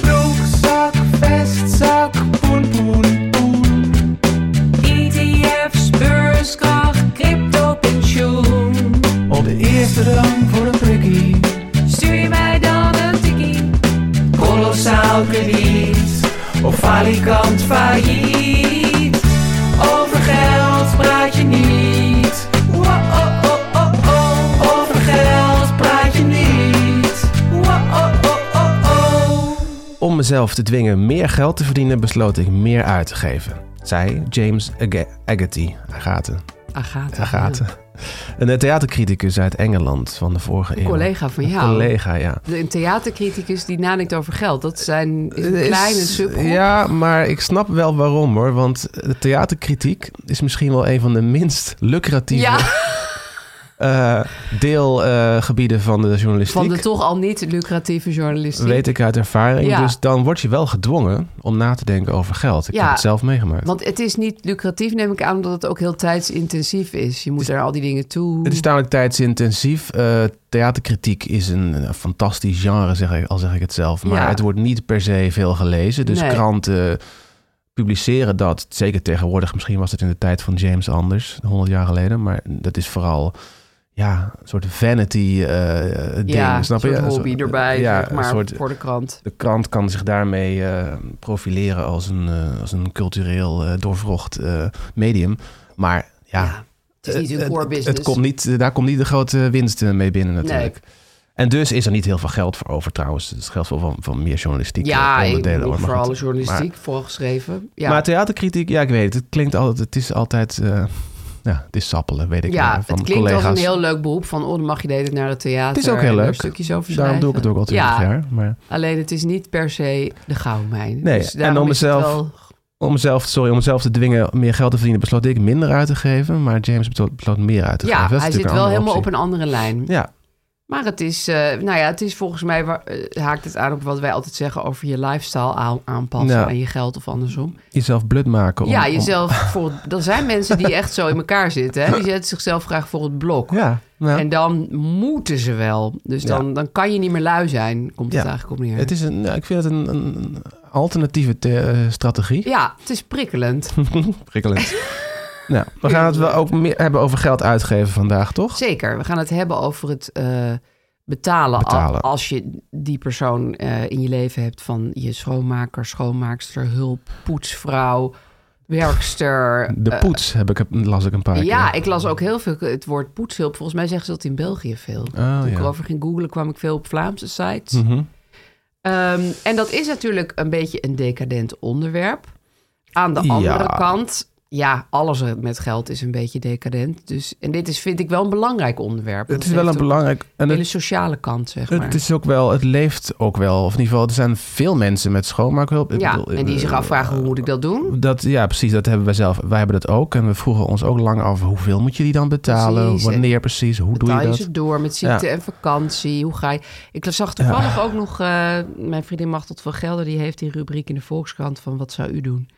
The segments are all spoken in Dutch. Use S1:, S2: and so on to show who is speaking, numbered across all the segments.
S1: Broekzak, vestzak, poen, poen, poen. ETF's, beurskracht, crypto, pensioen. Op de eerste rang voor een prikkie. Stuur je mij dan een tikkie. Kolossaal krediet. Of falikant failliet. Over geld praat je niet. Wa-oh-oh-oh-oh. Over geld praat je niet. Wa-oh-oh-oh-oh.
S2: Om mezelf te dwingen meer geld te verdienen, besloot ik meer uit te geven. Zei James Aga- Agaty. Agaten.
S3: Agatha.
S2: Agaten. Een eh, theatercriticus uit Engeland van de vorige eeuw.
S3: collega van
S2: Een
S3: jou.
S2: collega, ja.
S3: De- Een theatercriticus die nadenkt over geld. Dat zijn is een
S2: Eh, Is-
S3: kleine subgroep.
S2: Ja, maar ik snap wel waarom hoor. Want de theaterkritiek is misschien wel een van de minst lucratieve eh,
S3: Ja,
S2: deelgebieden van de journalistiek.
S3: van de toch al niet lucratieve journalistiek.
S2: Weet ik uit ervaring.
S3: Ja.
S2: Dus dan word je wel gedwongen om na te denken over geld. Ik
S3: Ja.
S2: heb het zelf meegemaakt.
S3: Want het is niet lucratief, neem ik aan, omdat het ook heel tijdsintensief is. Je moet er al die dingen toe.
S2: Dus Het is namelijk tijdsintensief. Eh, theaterkritiek is een, eh, fantastisch genre, zeg ik, al zeg ik het zelf. Maar
S3: Ja.
S2: het wordt niet per se veel gelezen. Dus
S3: Nee.
S2: kranten publiceren dat. Zeker tegenwoordig. Misschien was het in de tijd van James anders, 100 jaar geleden. Maar dat is vooral ja, een soort vanity eh ding.
S3: ja,
S2: snap
S3: een
S2: je?
S3: soort
S2: Een
S3: hobby
S2: soort-
S3: erbij,
S2: ja,
S3: zeg maar,
S2: een soort
S3: voor de krant.
S2: de krant kan zich daarmee eh, profileren als een, eh, als een cultureel eh, doorvrocht eh, medium. Maar ja,
S3: Ja, het is niet
S2: eh,
S3: hun core
S2: het-
S3: business.
S2: Het komt niet, daar komt niet de grote winst eh, mee binnen natuurlijk. En dus is er niet heel veel geld voor over trouwens. Het geldt wel van, van meer journalistieke
S3: ja, ik
S2: onderdelen.
S3: moet
S2: hoor, maar
S3: voor
S2: goed.
S3: alle journalistiek
S2: Maar,
S3: voorgeschreven. Ja,
S2: maar theaterkritiek, ja ik weet het. Het klinkt altijd, het is altijd, eh, ja het is sappelen weet ik
S3: ja
S2: eh, van
S3: het klinkt
S2: collega's.
S3: als een heel leuk beroep. Van, oh, dan mag je de hele tijd naar het theater.
S2: het is ook
S3: en
S2: heel
S3: daar
S2: leuk.
S3: Stukjes over
S2: Daarom doe ik het ook al
S3: schrijven.
S2: 20
S3: Ja.
S2: jaar. Maar...
S3: Alleen het is niet per se de goudmijn.
S2: Nee,
S3: Dus
S2: en
S3: daarom
S2: om
S3: is het
S2: mezelf-
S3: wel-
S2: Om mezelf, sorry, om mezelf te dwingen meer geld te verdienen, besloot ik minder uit te geven. Maar James beslo- besloot meer uit te
S3: Ja,
S2: geven. Dat is
S3: hij
S2: natuurlijk
S3: zit
S2: een
S3: wel
S2: andere
S3: helemaal op
S2: optie.
S3: een andere lijn.
S2: Ja,
S3: Maar het is, eh, nou ja, het is volgens mij, waar- eh, haakt het aan op wat wij altijd zeggen over je lifestyle aan- aanpassen
S2: Ja.
S3: aan je geld of andersom.
S2: jezelf blut maken. om-
S3: ja,
S2: om-
S3: jezelf voor, er zijn mensen die echt zo in elkaar zitten. Hè? Die zetten zichzelf graag voor het blok.
S2: ja, nou,
S3: En dan moeten ze wel. Dus dan, dan kan je niet meer lui zijn, komt het
S2: Ja.
S3: eigenlijk op neer.
S2: het is een, nou, ik vind het een, een een alternatieve the- eh, strategie.
S3: Ja, het is prikkelend.
S2: Prikkelend. nou, we gaan het wel ook meer hebben over geld uitgeven vandaag, toch?
S3: Zeker, we gaan het hebben over het eh, betalen, al-
S2: Betalen.
S3: Als je die persoon eh, in je leven hebt van je schoonmaker, schoonmaakster, hulp, poetsvrouw, werkster.
S2: De poets heb ik, las ik een paar
S3: eh, Ja,
S2: keer.
S3: ik las ook heel veel het woord poetshulp. Volgens mij zeggen ze dat in België veel.
S2: Oh,
S3: Toen ik
S2: ja.
S3: erover ging googlen kwam ik veel op Vlaamse sites.
S2: Mhm.
S3: Ehm, en dat is natuurlijk een beetje een decadent onderwerp. Aan de
S2: Ja.
S3: andere kant, ja, alles met geld is een beetje decadent. Dus, en dit is, vind ik wel een belangrijk onderwerp. want
S2: Het is wel
S3: heeft
S2: een
S3: ook
S2: belangrijk... En
S3: een
S2: het-
S3: hele sociale kant, zeg maar.
S2: Het is ook wel, het leeft ook wel. Of in ieder geval, er zijn veel mensen met schoonmaakhulp. Ik
S3: ja,
S2: bedoel,
S3: en die
S2: eh,
S3: zich afvragen, hoe moet ik dat doen?
S2: Dat, ja, precies. Dat hebben wij zelf. Wij hebben dat ook. En we vroegen ons ook lang af hoeveel moet je die dan betalen?
S3: Precies.
S2: Wanneer precies? Hoe doe
S3: Betaal
S2: je
S3: je
S2: dat?
S3: ze door met ziekte
S2: Ja.
S3: en vakantie? Hoe ga je... Ik zag toevallig ook nog... eh, mijn vriendin Machtel van Gelder... die heeft die rubriek in de Volkskrant van... wat zou u doen?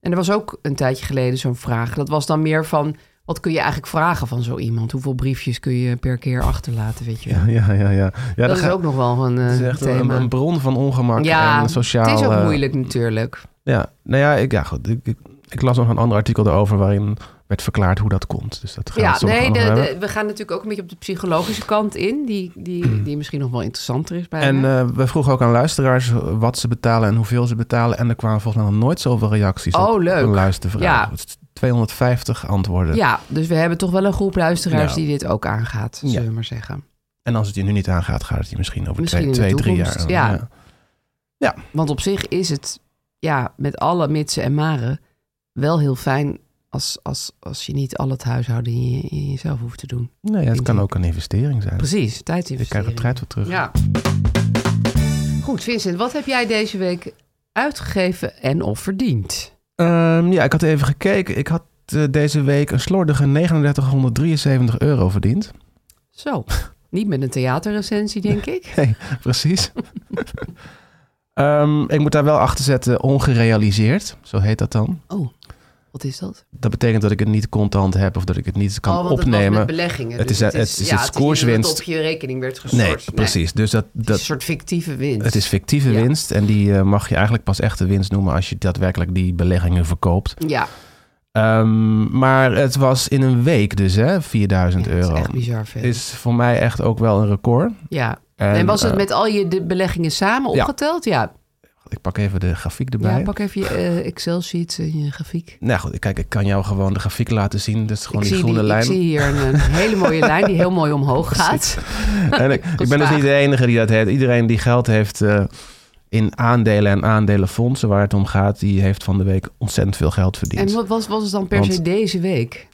S3: En er was ook een tijdje geleden zo'n vraag. Dat was dan meer van... wat kun je eigenlijk vragen van zo iemand? Hoeveel briefjes kun je per keer achterlaten, weet je wel?
S2: Ja, ja, ja. ja. ja
S3: dat
S2: ga-
S3: is ook nog wel een eh,
S2: het is echt een,
S3: thema.
S2: een bron van ongemak
S3: ja,
S2: en sociaal...
S3: het is ook
S2: eh,
S3: moeilijk natuurlijk.
S2: ja, nou ja, ik, ja goed. Ik, ik- ik las nog een ander artikel daarover waarin werd verklaard hoe dat komt. Dus dat gaan we
S3: Ja,
S2: het zo nog
S3: nee,
S2: over
S3: de-
S2: hebben. Hmm.
S3: de- we gaan natuurlijk ook een beetje op de psychologische kant in, die, die, die misschien nog wel interessanter is bij
S2: En
S3: me.
S2: eh, we vroegen ook aan luisteraars wat ze betalen en hoeveel ze betalen. En er kwamen volgens mij nog nooit zoveel reacties op,
S3: Oh, leuk.
S2: op een luistervraag.
S3: Ja.
S2: Het is 250 antwoorden.
S3: Ja, dus we hebben toch wel een groep luisteraars
S2: Nou.
S3: die dit ook aangaat,
S2: Ja.
S3: zullen we maar zeggen.
S2: En als het je nu niet aangaat, gaat het je misschien over
S3: Misschien
S2: twee,
S3: in de
S2: twee, drie
S3: toekomst,
S2: jaar.
S3: ja. Want op zich is het, ja, met alle mitsen en maren, wel heel fijn als, als, als je niet al het huishouden in, je- in jezelf hoeft te doen.
S2: Nee, het kan ook een investering zijn.
S3: Precies, tijd
S2: Je krijgt het tijd weer terug.
S3: Ja. Goed, Vincent, wat heb jij deze week uitgegeven en of verdiend?
S2: Ehm, ja, ik had even gekeken. Ik had eh, deze week een slordige 3973 euro verdiend.
S3: Zo, niet met een theaterrecensie, denk ik.
S2: Nee, precies. Ehm, ik moet daar wel achter zetten, ongerealiseerd. Zo heet dat dan.
S3: Oh, wat is dat?
S2: Dat betekent dat ik het niet contant heb of dat ik het niet kan
S3: oh, want Het was
S2: opnemen.
S3: met beleggingen.
S2: Het
S3: dus
S2: is- het is het
S3: ja, het
S2: koerswinst.
S3: niet dat het op je rekening werd gestort.
S2: nee, precies. Dus dat,
S3: Het is
S2: dat,
S3: een soort fictieve winst.
S2: het is fictieve
S3: Ja.
S2: winst. En die eh, mag je eigenlijk pas echte winst noemen als je daadwerkelijk die beleggingen verkoopt.
S3: Ja,
S2: Ehm, maar het was in een week dus, hè, 4000
S3: ja, dat
S2: euro.
S3: is echt bizar veel.
S2: is voor mij echt ook wel een record.
S3: Ja. En, was het
S2: eh,
S3: met al je de beleggingen samen
S2: ja.
S3: opgeteld? Ja.
S2: ik pak even de grafiek
S3: Ja,
S2: erbij.
S3: pak even je eh, Excel-sheet en je grafiek.
S2: Nou goed, kijk, ik kan jou gewoon de grafiek laten zien. Dat is gewoon
S3: ik,
S2: die
S3: zie
S2: groene
S3: die,
S2: lijn.
S3: ik zie hier een, een hele mooie lijn die heel mooi omhoog gaat.
S2: En ik, ik ben dus
S3: Gestaag.
S2: niet de enige die dat heeft. Iedereen die geld heeft eh, in aandelen en aandelenfondsen waar het om gaat, die heeft van de week ontzettend veel geld verdiend.
S3: En wat was, was het dan per se
S2: Want-
S3: deze week?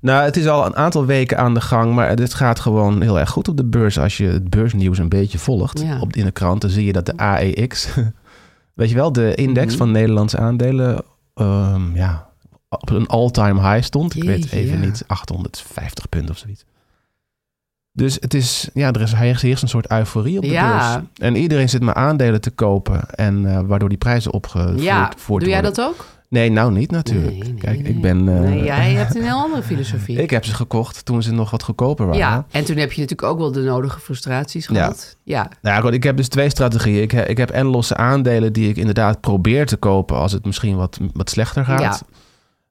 S2: Nou, het is al een aantal weken aan de gang, maar dit gaat gewoon heel erg goed op de beurs. Als je het beursnieuws een beetje volgt
S3: Ja.
S2: op, in de kranten, zie je dat de AEX, weet je wel, de index
S3: Mhm.
S2: van Nederlandse aandelen, ehm, ja, op een all-time high stond. Ik weet
S3: Jeetje,
S2: even
S3: ja.
S2: niet, 850 punten of zoiets. Dus het is, ja, er is, hij is eerst een soort euforie op de
S3: Ja.
S2: beurs. En iedereen zit maar aandelen te kopen en eh, waardoor die prijzen opgevoerd
S3: Ja,
S2: voort
S3: doe jij
S2: worden.
S3: dat ook?
S2: Nee, nou niet natuurlijk.
S3: Nee, nee,
S2: Kijk,
S3: nee.
S2: ik ben... eh,
S3: Nee, jij hebt een heel andere filosofie.
S2: ik heb ze gekocht toen ze nog wat goedkoper waren.
S3: ja, en toen heb je natuurlijk ook wel de nodige frustraties gehad. Ja,
S2: Nou ja, goed, ik heb dus twee strategieën. Ik, he- ik heb en losse aandelen die ik inderdaad probeer te kopen als het misschien wat, wat slechter gaat.
S3: Ja.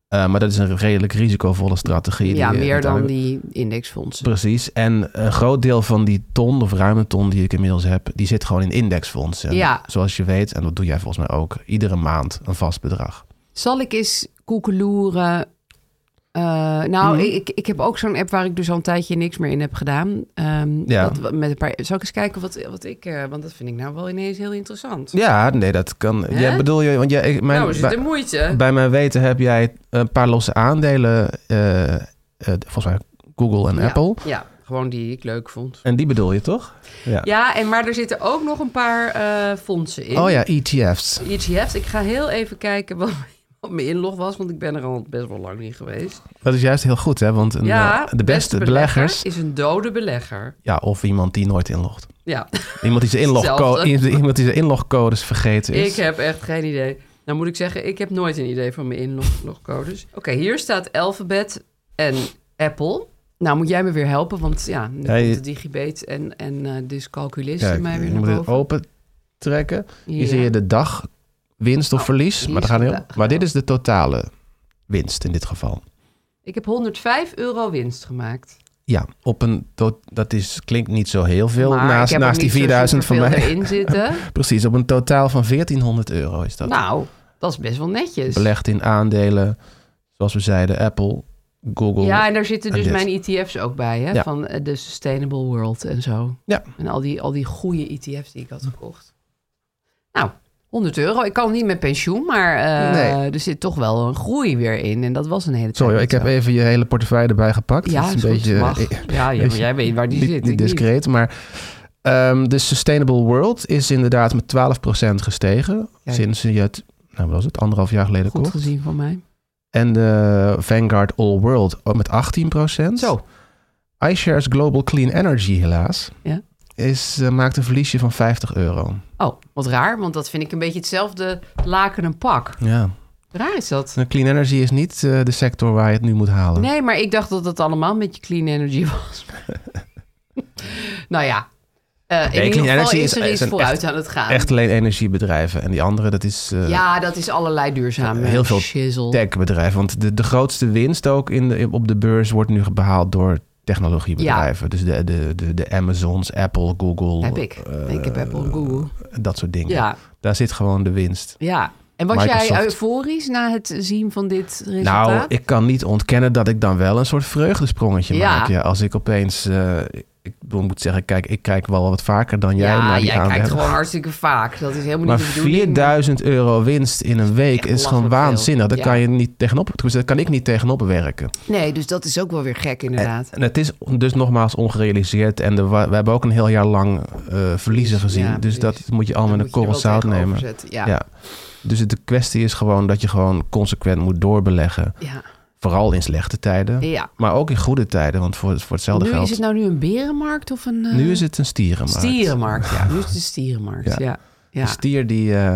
S2: Eh, maar dat is een redelijk risicovolle strategie.
S3: ja,
S2: die, eh,
S3: meer dan
S2: uiteindelijk-
S3: die indexfondsen.
S2: Precies. En een groot deel van die ton of ruime ton die ik inmiddels heb, die zit gewoon in indexfondsen. En
S3: Ja.
S2: Zoals je weet, en dat doe jij volgens mij ook, iedere maand een vast bedrag.
S3: Zal ik eens koekeloeren? Eh, nou,
S2: Mhm.
S3: ik, ik heb ook zo'n app waar ik dus al een tijdje niks meer in heb gedaan. Ehm,
S2: Ja.
S3: dat, met een paar, zal ik eens kijken wat, wat ik... eh, want dat vind ik nou wel ineens heel interessant.
S2: Ja, nee, dat kan.
S3: Hè?
S2: Ja, bedoel je, want jij, ik- mijn,
S3: nou, is
S2: bij-
S3: het de moeite?
S2: Bij mijn weten heb jij een paar losse aandelen. eh, eh, volgens mij Google en
S3: Ja,
S2: Apple.
S3: Ja, gewoon die ik leuk vond.
S2: En die bedoel je toch? Ja.
S3: Ja, en, maar er zitten ook nog een paar eh, fondsen in.
S2: Oh ja, ETF's.
S3: ETF's. Ik ga heel even kijken wat, wat mijn inlog was, want ik ben er al best wel lang niet geweest.
S2: Dat is juist heel goed, hè? Want een, eh, de beste,
S3: belegger
S2: beleggers.
S3: is een dode belegger.
S2: Ja, of iemand die nooit inlogt.
S3: Ja,
S2: Iemand die zijn, inlogco
S3: Hetzelfde.
S2: iemand die zijn inlogcodes vergeten is.
S3: ik heb echt geen idee. Nou moet ik zeggen, ik heb nooit een idee van mijn inlogcodes. Oké, hier staat Alphabet en Apple. Nou moet jij me weer helpen, want ja, nu
S2: Ja, je-
S3: komt de digibate en, en eh dyscalculisten
S2: Kijk,
S3: mij weer
S2: je
S3: naar
S2: moet het
S3: boven.
S2: open trekken. Hier
S3: Ja.
S2: zie je de dag winst of
S3: Oh,
S2: verlies.
S3: die
S2: Maar,
S3: is
S2: daar gaat niet om.
S3: vandaag
S2: maar dit
S3: wel.
S2: is de totale winst in dit geval.
S3: Ik heb 105 euro winst gemaakt.
S2: Ja, op een tot, dat is, klinkt niet zo heel veel.
S3: Maar ik
S2: naast
S3: heb er
S2: naast die
S3: niet zo
S2: 4000 van mij.
S3: superveel erin zitten.
S2: Precies, op een totaal van 1400 euro is dat.
S3: nou, dus- dat is best wel netjes.
S2: Belegd in aandelen, zoals we zeiden, Apple, Google.
S3: Ja, en daar zitten
S2: en
S3: dus
S2: dit.
S3: mijn ETF's ook bij, hè?
S2: Ja.
S3: Van eh, de Sustainable World en zo.
S2: Ja.
S3: En al die, al die goede ETF's die ik had gekocht. Nou, 100 euro. Ik kan niet met pensioen, maar eh,
S2: Nee.
S3: er zit toch wel een groei weer in. En dat was een hele tijd
S2: Sorry, hoor,
S3: niet
S2: ik heb
S3: zo.
S2: even je hele portefeuille erbij gepakt.
S3: Ja,
S2: Dat
S3: is
S2: een
S3: goed, mag.
S2: eh,
S3: Ja, ja, maar jij weet waar die
S2: niet-
S3: zit.
S2: Niet
S3: ik niet.
S2: discreet, maar ehm, de Sustainable World is inderdaad met 12% gestegen
S3: Kijk.
S2: sinds je het, nou wat was het, anderhalf jaar geleden
S3: Goed
S2: kocht.
S3: gezien van mij.
S2: En de Vanguard All World ook met 18%.
S3: Zo.
S2: iShares Global Clean Energy helaas
S3: Ja.
S2: is, eh, maakt een verliesje van 50 euro.
S3: Oh, wat raar, want dat vind ik een beetje hetzelfde laken en pak.
S2: Ja.
S3: Raar is dat.
S2: Nou, Clean energy is niet eh, de sector waar je het nu moet halen.
S3: Nee, maar ik dacht dat dat allemaal met je clean energy was. nou ja, Eh, in
S2: Clean
S3: ieder geval
S2: Energy
S3: is
S2: is-
S3: er
S2: is
S3: iets
S2: een
S3: vooruit
S2: echt-
S3: aan het gaan.
S2: Echt alleen energiebedrijven. En die andere, dat is eh,
S3: ja, dat is allerlei duurzame
S2: heel veel
S3: shizzle.
S2: techbedrijven. Want de, de grootste winst ook in de, op de beurs wordt nu behaald door technologiebedrijven. Dus de, de, de, de Amazons, Apple, Google.
S3: Heb ik.
S2: eh,
S3: ik heb Apple, Google.
S2: Dat soort dingen.
S3: Ja,
S2: Daar zit gewoon de winst.
S3: ja. En was jij
S2: Microsoft.
S3: euforisch na het zien van dit resultaat?
S2: Nou, ik kan niet ontkennen dat ik dan wel een soort vreugdesprongetje
S3: Ja.
S2: maak. Ja, als ik opeens... eh, ik bedoel, ik moet zeggen, kijk, ik kijk wel wat vaker dan jij
S3: ja,
S2: naar die
S3: jij kijkt
S2: aandelen.
S3: gewoon hartstikke vaak. Dat is helemaal
S2: Maar
S3: niet de bedoeling.
S2: 4000 euro winst in een week
S3: echt
S2: is gewoon
S3: belachelijk
S2: waanzinnig.
S3: veel.
S2: Daar
S3: Ja.
S2: kan je niet tegenop. tenminste, Daar kan ik niet tegenop werken.
S3: Nee, dus dat is ook wel weer gek inderdaad.
S2: En het is dus nogmaals ongerealiseerd. En de, wa- we hebben ook een heel jaar lang eh, verliezen gezien.
S3: Ja,
S2: dus dat
S3: precies.
S2: moet je allemaal
S3: Dan
S2: met een
S3: moet je er
S2: korrel
S3: wel
S2: zout
S3: tegenover
S2: nemen.
S3: zetten. Ja. Ja.
S2: Ja. Dus het- de kwestie is gewoon dat je gewoon consequent moet doorbeleggen.
S3: Ja.
S2: Vooral in slechte tijden. Maar ook in goede tijden. Want voor, voor hetzelfde
S3: Nu,
S2: geld.
S3: is het nou nu een berenmarkt of een... eh,
S2: nu is het een stierenmarkt.
S3: Stierenmarkt, ja. Nu is het een stierenmarkt, ja.
S2: Ja.
S3: ja.
S2: Een stier die... eh,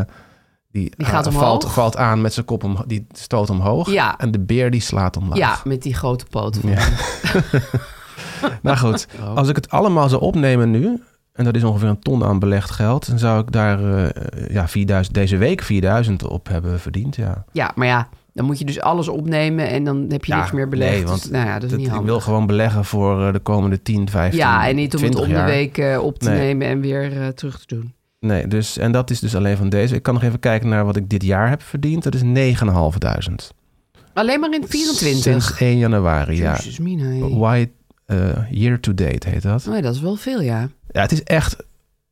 S2: die,
S3: Die gaat
S2: eh,
S3: omhoog.
S2: valt, valt aan met zijn kop, om, die stoot omhoog.
S3: Ja.
S2: En de beer die slaat omlaag.
S3: Ja, met die grote poten. van
S2: Ja.
S3: hem.
S2: Nou goed, als ik het allemaal zou opnemen nu, en dat is ongeveer een ton aan belegd geld, dan zou ik daar eh, ja, 4000, deze week 4000 op hebben verdiend. Ja.
S3: Ja, maar ja, dan moet je dus alles opnemen en dan heb je
S2: Ja,
S3: niks meer belegd.
S2: nee, want
S3: Dus, nou ja, dat is
S2: Dat,
S3: niet
S2: ik
S3: handig.
S2: wil gewoon beleggen voor eh, de komende 10, 15,
S3: Ja, en niet om het
S2: 20
S3: om de
S2: jaar.
S3: week eh, op te
S2: Nee.
S3: nemen en weer eh, terug te doen.
S2: Nee, dus, en dat is dus alleen van deze. Ik kan nog even kijken naar wat ik dit jaar heb verdiend. Dat is 9.500.
S3: Alleen maar in 24.
S2: Sinds 1 januari, ja.
S3: Jezus, mina. hé.
S2: Why, eh, year to date heet dat.
S3: Nee, dat is wel veel, ja.
S2: Ja, het is echt,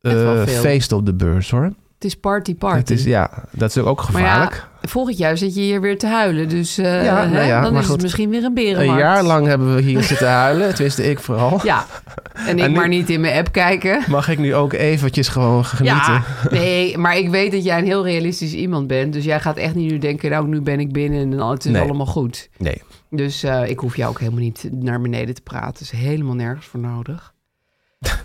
S3: Echt wel
S2: eh,
S3: veel.
S2: feest op de beurs hoor.
S3: Het is party party.
S2: Het is, ja, dat is ook
S3: Maar ja,
S2: gevaarlijk.
S3: Volgend jaar zit je hier weer te huilen, dus eh,
S2: Ja,
S3: hè,
S2: nou ja, maar
S3: dan is het
S2: goed.
S3: misschien weer een berenmarkt.
S2: Een jaar lang hebben we hier zitten huilen. Tenminste, ik vooral.
S3: Ja, en ik
S2: En nu-
S3: maar niet in mijn app kijken.
S2: Mag ik nu ook eventjes gewoon genieten?
S3: Ja, nee, maar ik weet dat jij een heel realistisch iemand bent. Dus jij gaat echt niet nu denken, nou, nu ben ik binnen en dan- het is
S2: Nee.
S3: allemaal goed.
S2: Nee.
S3: Dus eh, ik hoef jou ook helemaal niet naar beneden te praten. is helemaal nergens voor nodig.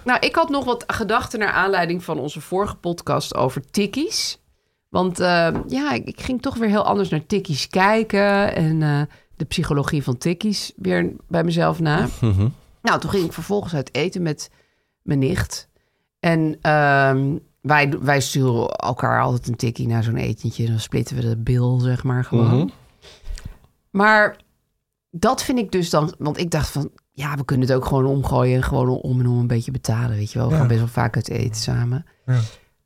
S3: nou, ik had nog wat gedachten naar aanleiding van onze vorige podcast over tikkies. Want eh, ja, ik, ik ging toch weer heel anders naar tikkies kijken. En eh, de psychologie van tikkies weer bij mezelf na.
S2: Mhm.
S3: Nou, toen ging ik vervolgens uit eten met mijn nicht. En ehm, wij, wij sturen elkaar altijd een tikkie naar zo'n etentje. Dan splitten we de bil, zeg maar, gewoon.
S2: Mhm.
S3: Maar dat vind ik dus dan... Want ik dacht van, ja, we kunnen het ook gewoon omgooien... en gewoon om en om een beetje betalen, weet je wel. We
S2: Ja.
S3: gaan best wel vaak uit eten samen.
S2: Ja.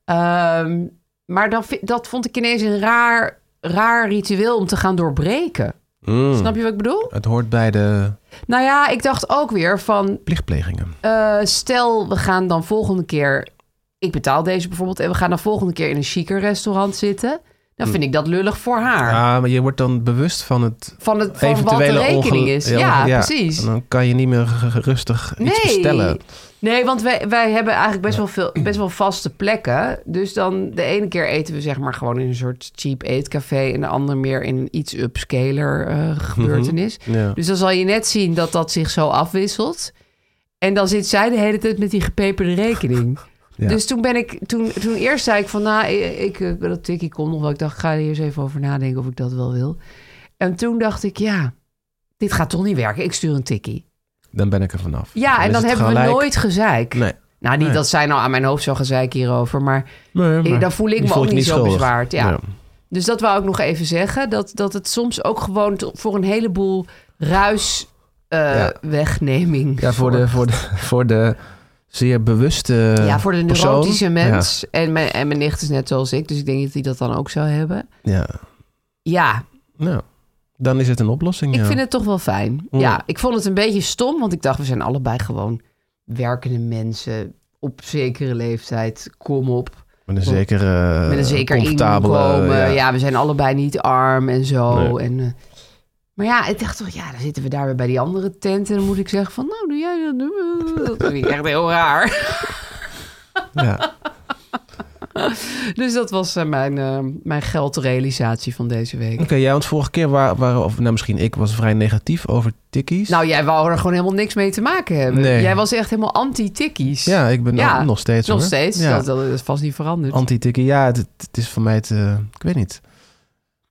S3: Ehm, maar dan, vind- dat vond ik ineens een raar, raar ritueel om te gaan doorbreken.
S2: Mm.
S3: Snap je wat ik bedoel?
S2: Het hoort bij de
S3: Nou ja, ik dacht ook weer van...
S2: plichtplegingen.
S3: Eh, stel, we gaan dan volgende keer. Ik betaal deze bijvoorbeeld. En we gaan dan volgende keer in een chiquer restaurant zitten.
S2: Hm.
S3: Dan vind ik dat lullig voor haar.
S2: Ah, maar je wordt dan bewust van het
S3: Van, het, van wat de
S2: eventuele
S3: rekening
S2: onge-
S3: is.
S2: ja,
S3: Ja,
S2: onge- ja.
S3: precies.
S2: En dan kan je niet meer ge- ge- rustig iets bestellen.
S3: Nee, want wij, wij hebben eigenlijk best wel, veel, best wel vaste plekken. Dus dan de ene keer eten we zeg maar gewoon in een soort cheap eetcafé. En de andere meer in een iets upscaler
S2: Mhm.
S3: eh, gebeurtenis.
S2: Ja.
S3: Dus dan zal je net zien dat dat zich zo afwisselt. En dan zit zij de hele tijd met die gepeperde rekening.
S2: Ja.
S3: Dus toen ben ik, toen, toen eerst zei ik van, nou, ik, ik, eh, dat tikkie komt nog wel. Ik dacht, ik ga er eens even over nadenken of ik dat wel wil. En toen dacht ik, ja, dit gaat toch niet werken. Ik stuur een tikkie.
S2: Dan ben ik er vanaf.
S3: Ja, en
S2: is
S3: dan
S2: het
S3: hebben we
S2: gelijk-
S3: nooit gezeik.
S2: Nee.
S3: Nou, niet
S2: Nee.
S3: dat zij nou aan mijn hoofd zou gezeik hierover, maar,
S2: Nee,
S3: ik-
S2: maar
S3: Eh, dan voel ik
S2: je
S3: me
S2: voelt
S3: ook
S2: je
S3: niet zo
S2: schuldig.
S3: bezwaard. Ja.
S2: Ja.
S3: Dus dat wou ik nog even zeggen, dat, dat het soms ook gewoon t- voor een heleboel ruis eh,
S2: Ja.
S3: wegneming.
S2: Ja, voor de, voor, de, voor de zeer bewuste
S3: ja, voor de
S2: Eh, persoon.
S3: neurotische mens. En, mijn, en mijn nicht is net zoals ik, dus ik denk dat die dat dan ook zou hebben.
S2: Ja. ja.
S3: Ja,
S2: Nou, dan is het een oplossing.
S3: Ik
S2: ja.
S3: vind het toch wel fijn.
S2: Ja.
S3: Ja, ik vond het een beetje stom, want ik dacht, we zijn allebei gewoon werkende mensen op zekere leeftijd. Kom op.
S2: Met een zekere
S3: Met een zeker
S2: Eh, comfortabele...
S3: inkomen. Ja.
S2: ja.
S3: we zijn allebei niet arm en zo.
S2: Nee.
S3: En, eh, maar ja, ik dacht toch, ja, dan zitten we daar weer bij die andere tent. En dan moet ik zeggen van, nou, doe jij dat? Dat vind ik echt heel raar.
S2: Ja.
S3: Dus dat was eh, mijn, eh, mijn geldrealisatie van deze week.
S2: Oké, ja, want vorige keer wa- waren, of nou misschien ik, was vrij negatief over tikkies.
S3: Nou, jij wou er gewoon helemaal niks mee te maken hebben.
S2: Nee.
S3: Jij was echt helemaal anti-tikkies.
S2: ja, ik ben
S3: ja,
S2: ook nog steeds
S3: Nog
S2: hoor.
S3: steeds.
S2: Ja.
S3: Dat, dat is vast niet veranderd.
S2: Anti-tikkie, ja, het, het is voor mij het, eh, ik weet niet.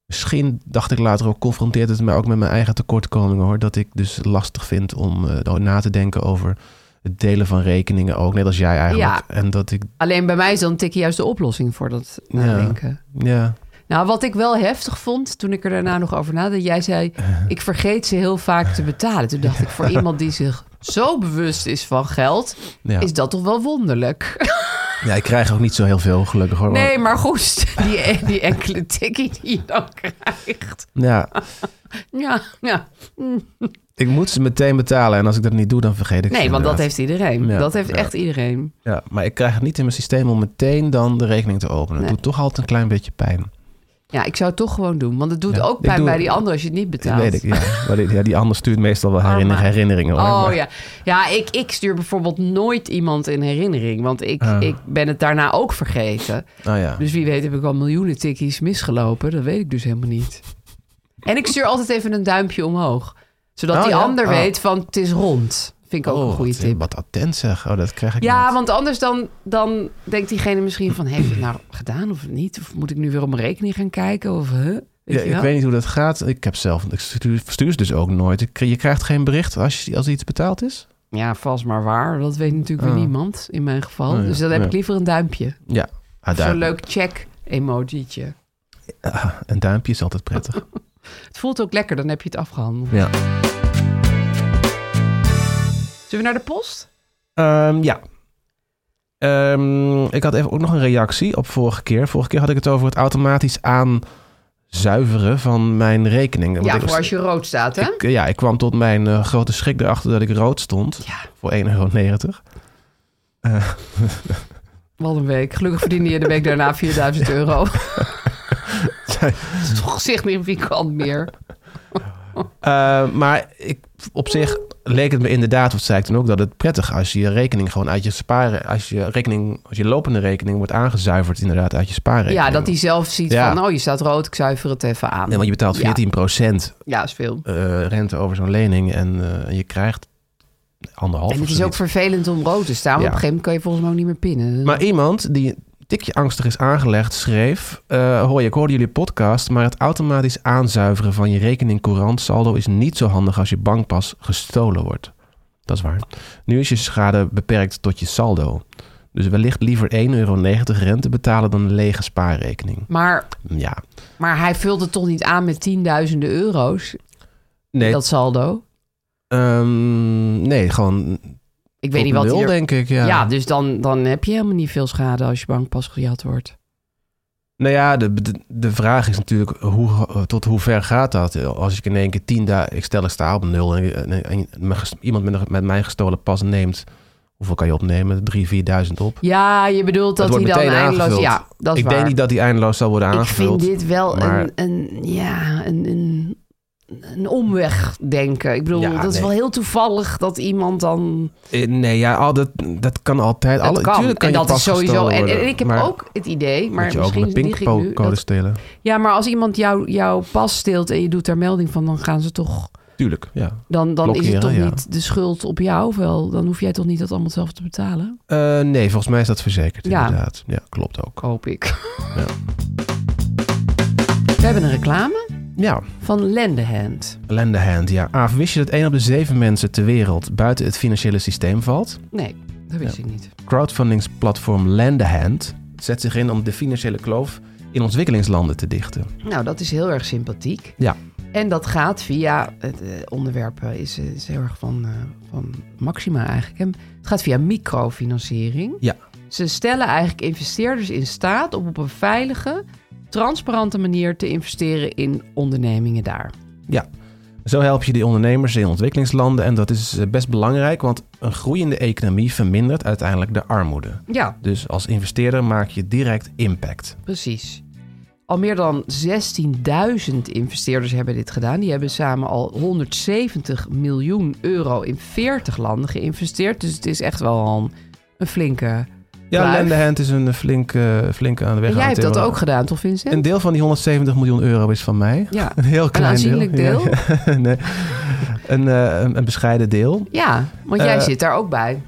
S2: Misschien dacht ik later ook, confronteert het mij ook met mijn eigen tekortkomingen hoor. Dat ik dus lastig vind om eh, na te nou, denken over het delen van rekeningen ook, net als jij eigenlijk.
S3: Ja.
S2: En dat ik,
S3: Alleen bij mij is dan tik je juist de oplossing voor dat
S2: Ja.
S3: nadenken.
S2: ja,
S3: Nou, wat ik wel heftig vond toen ik er daarna nog over nadacht, jij zei:
S2: Eh.
S3: Ik vergeet ze heel vaak te betalen. Toen dacht ik: Voor iemand die zich zo bewust is van geld,
S2: ja. Oh.
S3: is dat toch wel wonderlijk.
S2: ja, ik krijg ook niet zo heel veel, gelukkig hoor.
S3: Nee, maar goed, die, die enkele tikkie die je dan krijgt.
S2: Ja,
S3: Ja, ja.
S2: ik moet ze meteen betalen en als ik dat niet doe, dan vergeet ik ze
S3: Nee, want dat
S2: inderdaad.
S3: heeft iedereen.
S2: Ja,
S3: dat heeft
S2: ja.
S3: echt iedereen.
S2: Ja, maar ik krijg het niet in mijn systeem om meteen dan de rekening te openen.
S3: Nee.
S2: Het doet toch altijd een klein beetje pijn.
S3: Ja, ik zou het toch gewoon doen. Want het doet
S2: Ja,
S3: ook
S2: ik
S3: pijn
S2: doe-
S3: bij die ander als je het niet
S2: Dat
S3: betaalt.
S2: weet ik, ja. Maar die, ja, die ander stuurt meestal wel herinner-
S3: Arme.
S2: herinneringen. Hoor.
S3: Ah, Oh
S2: Maar-
S3: ja, ja ik, ik stuur bijvoorbeeld nooit iemand in herinnering. Want ik,
S2: Ah.
S3: ik ben het daarna ook vergeten.
S2: Oh, ja.
S3: Dus wie weet heb ik al miljoenen tikkies misgelopen. Dat weet ik dus helemaal niet. En ik stuur altijd even een duimpje omhoog. Zodat
S2: Oh,
S3: die
S2: ja?
S3: ander
S2: Oh.
S3: weet van het is rond. Vind ik ook
S2: Oh,
S3: een goede
S2: wat-
S3: tip.
S2: Wat attent zeg. Oh, dat krijg ik
S3: Ja,
S2: niet.
S3: want anders dan, dan denkt diegene misschien van... heb ik het nou gedaan of niet? Of moet ik nu weer op mijn rekening gaan kijken? Of, huh? Weet
S2: Ja,
S3: je
S2: ik
S3: wel?
S2: weet niet hoe dat gaat. Ik heb zelf, ik stuur, stuur ze dus ook nooit. Ik- je krijgt geen bericht als, je, als iets betaald is.
S3: ja, vast maar waar. Dat weet natuurlijk weer
S2: Ah.
S3: niemand in mijn geval.
S2: Oh, ja.
S3: Dus dan heb
S2: Ja.
S3: ik liever een duimpje.
S2: Ja, ah,
S3: Of Zo'n
S2: duim-
S3: leuk check-emojietje.
S2: Ah, een duimpje is altijd prettig.
S3: Het voelt ook lekker, dan heb je het afgehandeld.
S2: ja.
S3: Zullen we naar de post?
S2: Ehm, ja. Ehm, ik had even ook nog een reactie op vorige keer. Vorige keer had ik het over het automatisch aanzuiveren van mijn rekening. Want
S3: ja,
S2: ik-
S3: voor als je rood staat, hè?
S2: ik, ja, ik kwam tot mijn eh, grote schrik erachter dat ik rood stond
S3: Ja,
S2: voor 1,90 euro.
S3: wat een week. Gelukkig verdiende je de week daarna 4000 euro. Dat is toch significant meer.
S2: Eh, maar ik, op zich leek het me inderdaad, wat zei ik toen ook, dat het prettig als je je rekening gewoon uit je sparen, als je rekening, als je lopende rekening wordt aangezuiverd inderdaad uit je spaarrekening.
S3: Ja, dat hij zelf ziet
S2: Ja.
S3: van, oh, je staat rood, ik zuiver het even aan.
S2: Nee, want je betaalt
S3: Ja.
S2: 14
S3: Ja, is veel.
S2: eh, rente over zo'n lening en eh, je krijgt anderhalf.
S3: En
S2: of
S3: het is
S2: zoiets.
S3: ook vervelend om rood te
S2: Ja.
S3: staan. want Op een gegeven moment kan je volgens mij ook niet meer pinnen.
S2: Maar iemand die een tikje angstig is aangelegd schreef... eh hoi, ik hoorde jullie podcast, maar het automatisch aanzuiveren van je rekening courant saldo is niet zo handig als je bankpas gestolen wordt. Dat is waar. Nu is je schade beperkt tot je saldo. Dus wellicht liever 1,90 euro rente betalen dan een lege spaarrekening.
S3: maar,
S2: Ja.
S3: maar hij vult het toch niet aan met tienduizenden euro's,
S2: Nee,
S3: dat saldo?
S2: ehm, nee gewoon
S3: Ik
S2: tot
S3: weet niet wat
S2: nul,
S3: hier...
S2: denk ik.
S3: Ja,
S2: Ja.
S3: dus dan, dan heb je helemaal niet veel schade als je bankpas gejat wordt.
S2: Nou ja, de, de, de vraag is natuurlijk hoe, tot hoe ver gaat dat? Als ik in één keer tien dagen, ik stel ik sta op nul en, en- en mijn ges- iemand met, een- met mijn gestolen pas neemt, hoeveel kan je opnemen? Drie, vierduizend op.
S3: Ja, je bedoelt dat
S2: Het
S3: hij
S2: wordt
S3: dan
S2: meteen
S3: eindeloos...
S2: aangevuld.
S3: Ja, dat is
S2: Ik
S3: waar.
S2: denk niet dat die eindeloos zal worden
S3: Ik vind
S2: aangevuld.
S3: dit wel
S2: maar-
S3: een, een, ja, een, een, een omweg denken. Ik bedoel,
S2: Ja,
S3: dat is
S2: nee.
S3: wel heel toevallig dat iemand dan...
S2: Eh, Nee, ja, al dat, dat kan altijd.
S3: Dat
S2: Alle,
S3: kan.
S2: tuurlijk kan
S3: en
S2: je
S3: dat is
S2: pas
S3: sowieso...
S2: gestolen
S3: En,
S2: worden,
S3: en ik heb
S2: maar
S3: ook het idee, maar
S2: moet je ook
S3: misschien
S2: met
S3: lieg ik nu...
S2: pinkcode
S3: dat-
S2: stelen.
S3: ja, maar als iemand jou, jouw pas steelt en je doet daar melding van... dan gaan ze toch...
S2: Tuurlijk, ja.
S3: Dan, dan is het
S2: Blokkeren,
S3: toch
S2: ja.
S3: niet de schuld op jou wel? Dan hoef jij toch niet dat allemaal zelf te betalen?
S2: Eh, nee, volgens mij is dat verzekerd
S3: Ja.
S2: inderdaad. Ja, klopt ook.
S3: Hoop ik.
S2: Ja.
S3: We hebben een reclame
S2: ja.
S3: van Lendehand.
S2: Lend a hand, ja. Aaf, wist je dat 1 op de 7 mensen ter wereld buiten het financiële systeem valt?
S3: Nee, dat wist ik niet.
S2: Crowdfundingsplatform Lend a hand zet zich in om de financiële kloof in ontwikkelingslanden te dichten.
S3: Nou, dat is heel erg sympathiek.
S2: Ja.
S3: En dat gaat via, het eh, onderwerp eh, is, eh, is heel erg van, eh, van Maxima eigenlijk. hè. Het gaat via microfinanciering.
S2: Ja.
S3: Ze stellen eigenlijk investeerders in staat om op een veilige, transparante manier te investeren in ondernemingen daar.
S2: Zo help je de ondernemers in ontwikkelingslanden en dat is eh, best belangrijk, want een groeiende economie vermindert uiteindelijk de armoede.
S3: Ja,
S2: Dus als investeerder maak je direct impact.
S3: precies. Al meer dan 16.000 investeerders hebben dit gedaan. Die hebben samen al 170 miljoen euro in 40 landen geïnvesteerd. Dus het is echt wel al een, een flinke
S2: Ja,
S3: Kluif.
S2: Lend a hand is een flinke, flinke aan de weg.
S3: En
S2: aan
S3: jij
S2: het
S3: hebt dat
S2: timmeren.
S3: ook gedaan, toch, Vincent?
S2: eh, Een deel van die 170 miljoen euro is van mij.
S3: Ja.
S2: Een heel klein
S3: aanzienlijk deel?
S2: Ja, ja. nee. een, eh, een, een bescheiden deel.
S3: Ja, want jij
S2: Eh,
S3: zit daar ook bij.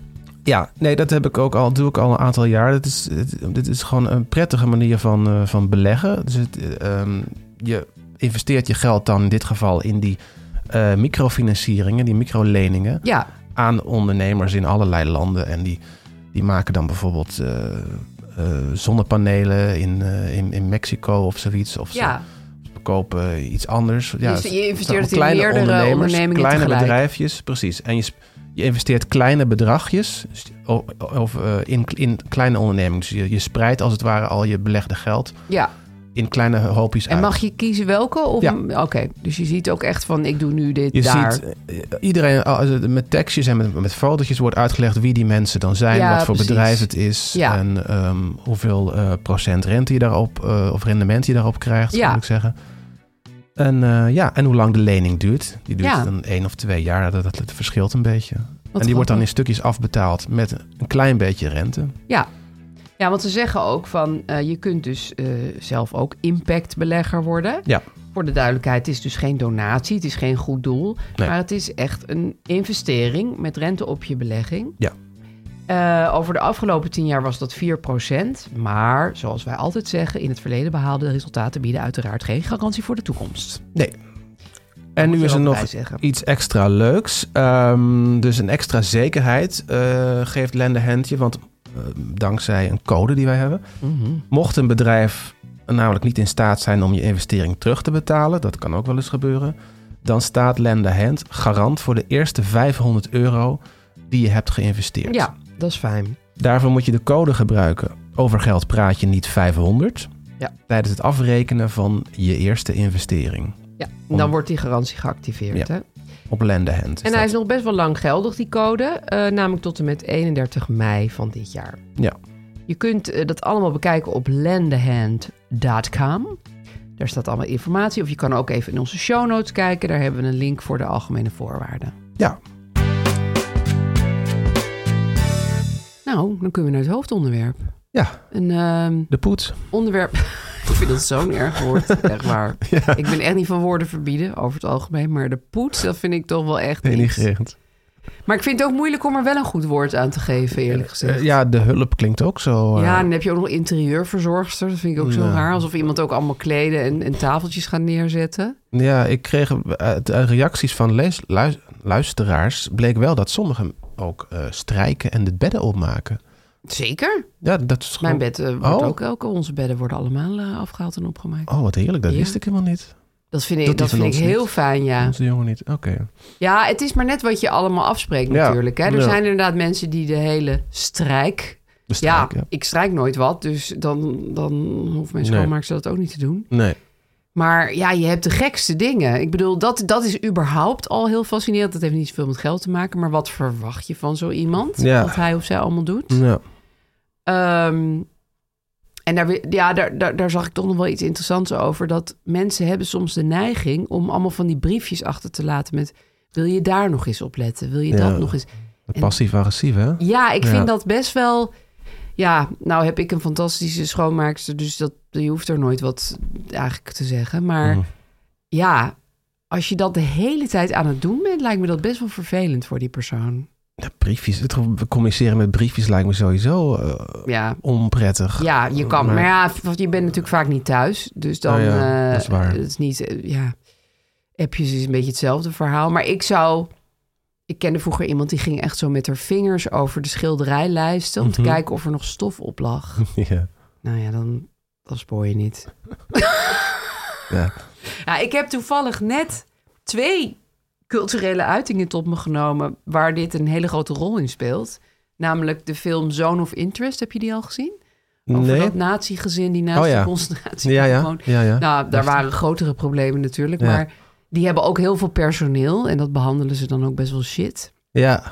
S2: Ja, nee, dat heb ik ook al, doe ik al een aantal jaar. Dat is, het- dit is gewoon een prettige manier van, eh, van beleggen. Dus het, eh, ehm, je investeert je geld dan in dit geval in die eh, microfinancieringen, die microleningen
S3: Ja,
S2: aan ondernemers in allerlei landen. En die, die maken dan bijvoorbeeld eh, eh, zonnepanelen in, eh, in, in Mexico of zoiets. Of ze
S3: Ja,
S2: kopen iets anders. Ja,
S3: Dus je investeert
S2: het zijn Nou,
S3: in
S2: kleine
S3: meerdere ondernemingen
S2: Kleine
S3: tegelijk.
S2: bedrijfjes, precies. En je, sp- je investeert kleine bedragjes dus die- o- of, eh, in, in kleine ondernemingen. Dus je, je spreidt als het ware al je belegde geld
S3: ja.
S2: in kleine hoopjes uit.
S3: En mag je kiezen welke? Of...
S2: Ja.
S3: Oké, dus je ziet ook echt van ik doe nu dit
S2: je
S3: daar.
S2: ziet eh, iedereen al- met tekstjes en met, met fotootjes wordt uitgelegd wie die mensen dan zijn,
S3: Ja,
S2: wat voor
S3: precies.
S2: bedrijf het is
S3: Ja.
S2: en ehm, hoeveel eh, procent rente je daarop eh, of rendement je daarop krijgt,
S3: Ja.
S2: moet ik zeggen. En, eh, ja, en hoe lang de lening duurt. Die duurt
S3: Ja.
S2: dan één of twee jaar. Dat, dat, dat verschilt een beetje. en die
S3: grappig.
S2: wordt dan in stukjes afbetaald met een klein beetje rente.
S3: Ja, want ze zeggen ook van eh, je kunt dus eh, zelf ook impactbelegger worden.
S2: Ja.
S3: Voor de duidelijkheid, het is dus geen donatie, het is geen goed doel.
S2: Nee.
S3: Maar het is echt een investering met rente op je belegging.
S2: Ja.
S3: Eh, over de afgelopen tien jaar was dat 4%. Maar zoals wij altijd zeggen, in het verleden behaalde resultaten bieden uiteraard geen garantie voor de toekomst.
S2: Nee. En nu is er nog
S3: Zeggen.
S2: iets extra leuks. Ehm, dus een extra zekerheid eh, geeft Lende Hentje. Want eh, dankzij een code die wij hebben.
S3: Mhm.
S2: Mocht een bedrijf namelijk niet in staat zijn om je investering terug te betalen. Dat kan ook wel eens gebeuren. Dan staat Lende Hand garant voor de eerste 500 euro die je hebt geïnvesteerd.
S3: Ja, dat is fijn.
S2: Daarvoor moet je de code gebruiken. Over geld praat je niet 500.
S3: Ja.
S2: Tijdens het afrekenen van je eerste investering.
S3: Ja, en
S2: Om-
S3: dan wordt die garantie
S2: Ja.
S3: geactiveerd. Hè?
S2: Op Lende Hand.
S3: En hij is nog best wel lang geldig, die code. eh, namelijk tot en met 31 mei van dit jaar.
S2: Ja.
S3: Je kunt eh, dat allemaal bekijken op lendehand.com. Daar staat allemaal informatie. Of je kan ook even in onze show notes kijken. Daar hebben we een link voor de algemene voorwaarden.
S2: Ja,
S3: Nou, dan kunnen we naar het hoofdonderwerp.
S2: ja,
S3: Een ehm,
S2: de poets.
S3: onderwerp... ik vind dat zo'n erg woord, echt waar. Ik ben echt niet van woorden verbieden, over het algemeen. Maar de poets, dat vind ik toch wel echt iets.
S2: Denigrerend.
S3: Maar ik vind het ook moeilijk om er wel een goed woord aan te geven, eerlijk gezegd.
S2: Eh, ja, de hulp klinkt ook zo. eh,
S3: Ja, en dan heb je ook nog interieurverzorgster. Dat vind ik ook zo
S2: Ja.
S3: raar. Alsof iemand ook allemaal kleden en, en tafeltjes gaat neerzetten.
S2: ja, ik kreeg eh, uit uit reacties van lees, luis- luisteraars. bleek wel dat sommigen ook eh, strijken en de bedden opmaken.
S3: Zeker.
S2: Ja, dat is
S3: Mijn
S2: gewoon-
S3: bed eh, wordt
S2: Oh.
S3: ook, ook... Onze bedden worden allemaal eh, afgehaald en opgemaakt.
S2: Oh, wat heerlijk. Dat
S3: Ja.
S2: wist ik helemaal niet.
S3: Dat vind ik,
S2: Dat
S3: dat
S2: die van
S3: vind ik
S2: ons
S3: heel
S2: niet.
S3: fijn, ja.
S2: Onze jongen niet. Oké.
S3: Ja, het is maar net wat je allemaal afspreekt
S2: Ja.
S3: natuurlijk. Hè? Er
S2: Ja.
S3: zijn inderdaad mensen die de hele strijk...
S2: De strijk,
S3: ja,
S2: ja.
S3: ik strijk nooit wat, dus dan, dan hoeft mijn
S2: Nee.
S3: schoonmaakster dat ook niet te doen.
S2: Nee.
S3: Maar ja, je hebt de gekste dingen. Ik bedoel, dat, dat is überhaupt al heel fascinerend. Dat heeft niet zoveel met geld te maken. Maar wat verwacht je van zo iemand?
S2: Ja. Mm.
S3: Wat hij of zij allemaal doet.
S2: Ja.
S3: Ehm, en daar, wi- ja, daar, daar, daar zag ik toch nog wel iets interessants over. Dat mensen hebben soms de neiging om allemaal van die briefjes achter te laten met... Wil je daar nog eens op letten? Wil je
S2: Ja.
S3: dat nog eens... En-
S2: Passief-agressief, hè?
S3: Ja, ik
S2: Ja.
S3: vind dat best wel... Ja, nou heb ik een fantastische schoonmaakster, dus dat, je hoeft er nooit wat eigenlijk te zeggen. Maar
S2: Mhm.
S3: ja, als je dat de hele tijd aan het doen bent, lijkt me dat best wel vervelend voor die persoon.
S2: Ja, briefjes. Het communiceren met briefjes lijkt me sowieso eh,
S3: Ja,
S2: onprettig.
S3: ja je kan.
S2: Maar-
S3: Maar ja, v- je bent natuurlijk vaak niet thuis, dus dan...
S2: Oh ja,
S3: eh,
S2: dat is waar.
S3: Het is niet, eh, ja, appjes is een beetje hetzelfde verhaal. Maar ik zou... Ik kende vroeger iemand die ging echt zo met haar vingers over de schilderijlijsten... om
S2: Mhm.
S3: te kijken of er nog stof op lag.
S2: Ja.
S3: Nou ja, dan, dan spoor je niet.
S2: Ja.
S3: Ja, Nou, ik heb toevallig net twee culturele uitingen tot me genomen... waar dit een hele grote rol in speelt. Namelijk de film Zone of Interest. Heb je die al gezien? Over
S2: Nee.
S3: dat nazi-gezin die naast
S2: Oh ja.
S3: de concentratie
S2: Ja, ja.
S3: woont.
S2: ja, ja.
S3: Nou, daar waren grotere problemen natuurlijk.
S2: Ja.
S3: Maar die hebben ook heel veel personeel. En dat behandelen ze dan ook best wel shit.
S2: Ja.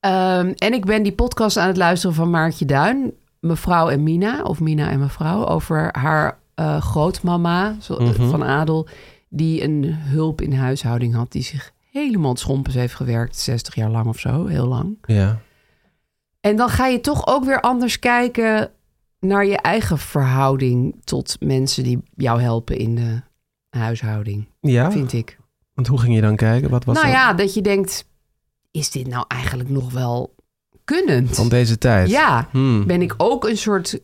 S3: Ehm, en ik ben die podcast aan het luisteren van Maartje Duin, mevrouw en Mina, of Mina en mevrouw, over haar eh, grootmama zo- eh,
S2: Mhm.
S3: van Adel, die een hulp in huishouding had, die zich helemaal het schompens heeft gewerkt, 60 jaar lang of zo, heel lang.
S2: Ja.
S3: En dan ga je toch ook weer anders kijken naar je eigen verhouding tot mensen die jou helpen in de huishouding,
S2: Ja.
S3: vind ik.
S2: Want hoe ging je dan kijken? Wat Ah, was
S3: nou
S2: dat
S3: ja, dat je denkt, is dit nou eigenlijk nog wel kunnend?
S2: van deze tijd?
S3: Ja,
S2: Hmm.
S3: ben ik ook een soort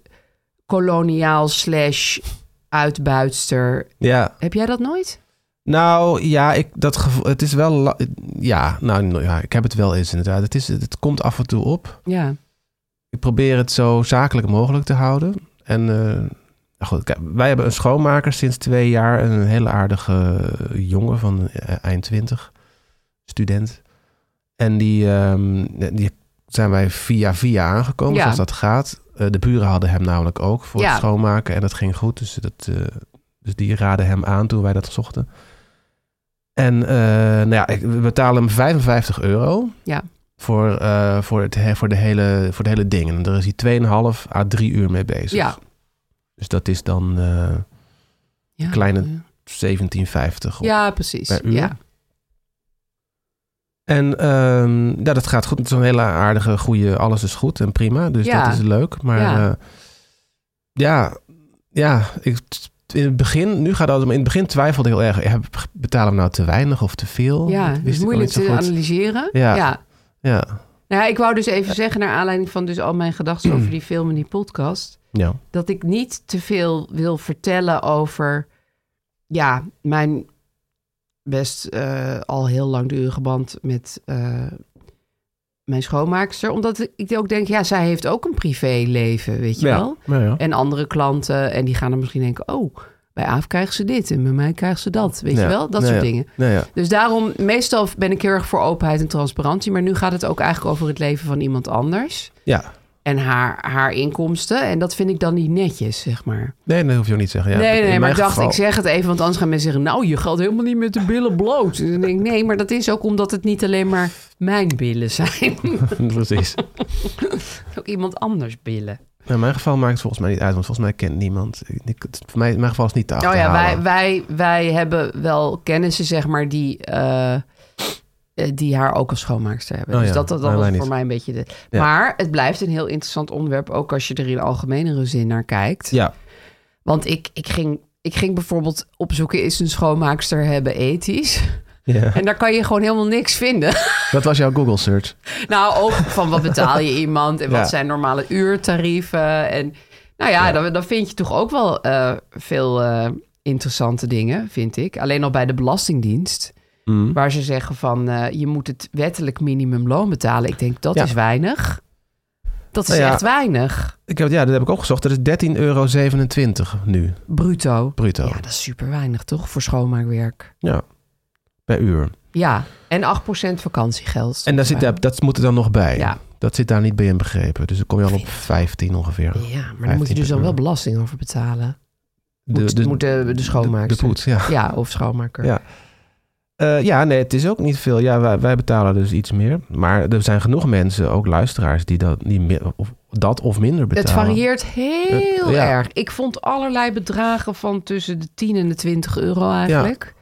S3: koloniaal slash uitbuitster.
S2: Ja.
S3: Heb jij dat nooit?
S2: Nou ja, ik, dat gevoel, het is wel. la- Ja, nou nou, ja, ik heb het wel eens inderdaad. Het, is, het komt af en toe op.
S3: Ja.
S2: Ik probeer het zo zakelijk mogelijk te houden. En eh, nou goed, kijk, wij hebben een schoonmaker sinds twee jaar. Een hele aardige jongen van eh, eind twintig, student. En die, ehm, die zijn wij via via aangekomen,
S3: Ja.
S2: zoals dat gaat. Eh, de buren hadden hem namelijk ook voor
S3: Ja.
S2: het schoonmaken. En dat ging goed, dus, dat, eh, dus die raden hem aan toen wij dat zochten. En eh, nou ja, ik- we betalen hem 55 euro.
S3: Ja.
S2: Voor, eh, voor, het, he- voor, de hele, voor het hele ding. En daar is hij 2,5 à 3 uur mee bezig.
S3: Ja.
S2: Dus dat is dan eh,
S3: ja.
S2: Kleine- 17,50 op
S3: Ja, precies.
S2: per uur.
S3: Ja.
S2: En ehm, ja, dat gaat goed. Het is een hele aardige, goede, alles is goed en prima. Dus
S3: Ja.
S2: dat is leuk. Maar
S3: Ja.
S2: ja, ja, ja ik, in het begin, nu gaat dat, maar in het begin twijfelde ik heel erg. Ja, betalen we nou te weinig of te veel?
S3: ja,
S2: Oh, dat
S3: het is
S2: wist ik al
S3: moeilijk
S2: niet zo
S3: te
S2: goed.
S3: analyseren.
S2: Ja.
S3: ja.
S2: Ja,
S3: Nou ja, ik wou dus even zeggen, naar aanleiding van dus al mijn gedachten over die film en die podcast,
S2: ja.
S3: dat ik niet te veel wil vertellen over, ja, mijn best eh, al heel langdurige band met eh, mijn schoonmaakster. Omdat ik ook denk, ja, zij heeft ook een privéleven, weet je wel.
S2: Ja, ja.
S3: En andere klanten, en die gaan dan misschien denken, oh, bij Aaf krijgen ze dit en bij mij krijgen ze dat, weet je
S2: Ja.
S3: wel. Dat
S2: Ja,
S3: soort
S2: ja.
S3: dingen.
S2: Ja, ja.
S3: Dus daarom, meestal ben ik heel erg voor openheid en transparantie. Maar nu gaat het ook eigenlijk over het leven van iemand anders.
S2: ja.
S3: En haar, haar inkomsten. En dat vind ik dan niet netjes, zeg maar.
S2: Nee, dat hoef je ook niet te zeggen. Ja,
S3: nee,
S2: in
S3: nee, maar
S2: mijn
S3: ik dacht,
S2: geval-
S3: ik zeg het even. Want anders gaan mensen zeggen, nou, je gaat helemaal niet met de billen bloot. En dan denk ik, nee, maar dat is ook omdat het niet alleen maar mijn billen zijn.
S2: Precies.
S3: ook iemand anders billen.
S2: Nou, in mijn geval maakt het volgens mij niet uit, want volgens mij kent niemand. Ik- ik- het- voor mij, in mijn geval is het niet te
S3: Nou ja,
S2: achterhalen.
S3: wij, wij, wij hebben wel kennissen, zeg maar, die, eh, eh, die haar ook als schoonmaakster hebben.
S2: Oh
S3: dus
S2: ja,
S3: dat, dat, dat
S2: nou,
S3: was
S2: wij
S3: voor
S2: niet.
S3: mij een beetje de...
S2: Ja.
S3: Maar het blijft een heel interessant onderwerp, ook als je er in algemenere zin naar kijkt.
S2: Ja,
S3: Want ik, ik, ging, ik ging bijvoorbeeld opzoeken, is een schoonmaakster hebben ethisch?
S2: ja.
S3: En daar kan je gewoon helemaal niks vinden.
S2: dat was jouw Google search.
S3: Nou, ook van wat betaal je iemand en
S2: Ja.
S3: wat zijn normale uurtarieven. En nou ja, Dan, dan vind je toch ook wel eh, veel eh, interessante dingen, vind ik. Alleen al bij de Belastingdienst, waar ze zeggen van eh, je moet het wettelijk minimumloon betalen. Ik denk dat
S2: Ja.
S3: is weinig. Dat is
S2: Nou ja.
S3: echt weinig,
S2: Ik heb, ja, dat heb ik ook gezocht. Dat is 13,27 euro nu,
S3: bruto.
S2: bruto,
S3: Ja, dat is super weinig toch voor schoonmaakwerk.
S2: per uur.
S3: Ja, en 8% vakantiegeld.
S2: En daar zit, dat, dat moet er dan nog bij.
S3: Ja.
S2: Dat zit daar niet bij inbegrepen. Dus dan kom je al op 15 ongeveer.
S3: Ja, maar daar moet
S2: 15
S3: je dus dan
S2: euro.
S3: wel belasting over betalen. Moet de, moet de, de
S2: de,
S3: schoonmaakster.
S2: de poets, ja.
S3: Ja, of schoonmaker.
S2: Ja. Eh, ja, nee, het is ook niet veel. Ja, wij, wij betalen dus iets meer. Maar er zijn genoeg mensen, ook luisteraars, die dat, die meer, of, dat of minder
S3: Het
S2: betalen.
S3: varieert heel
S2: Eh, ja.
S3: erg. Ik vond allerlei bedragen van tussen de 10 en de 20 euro eigenlijk.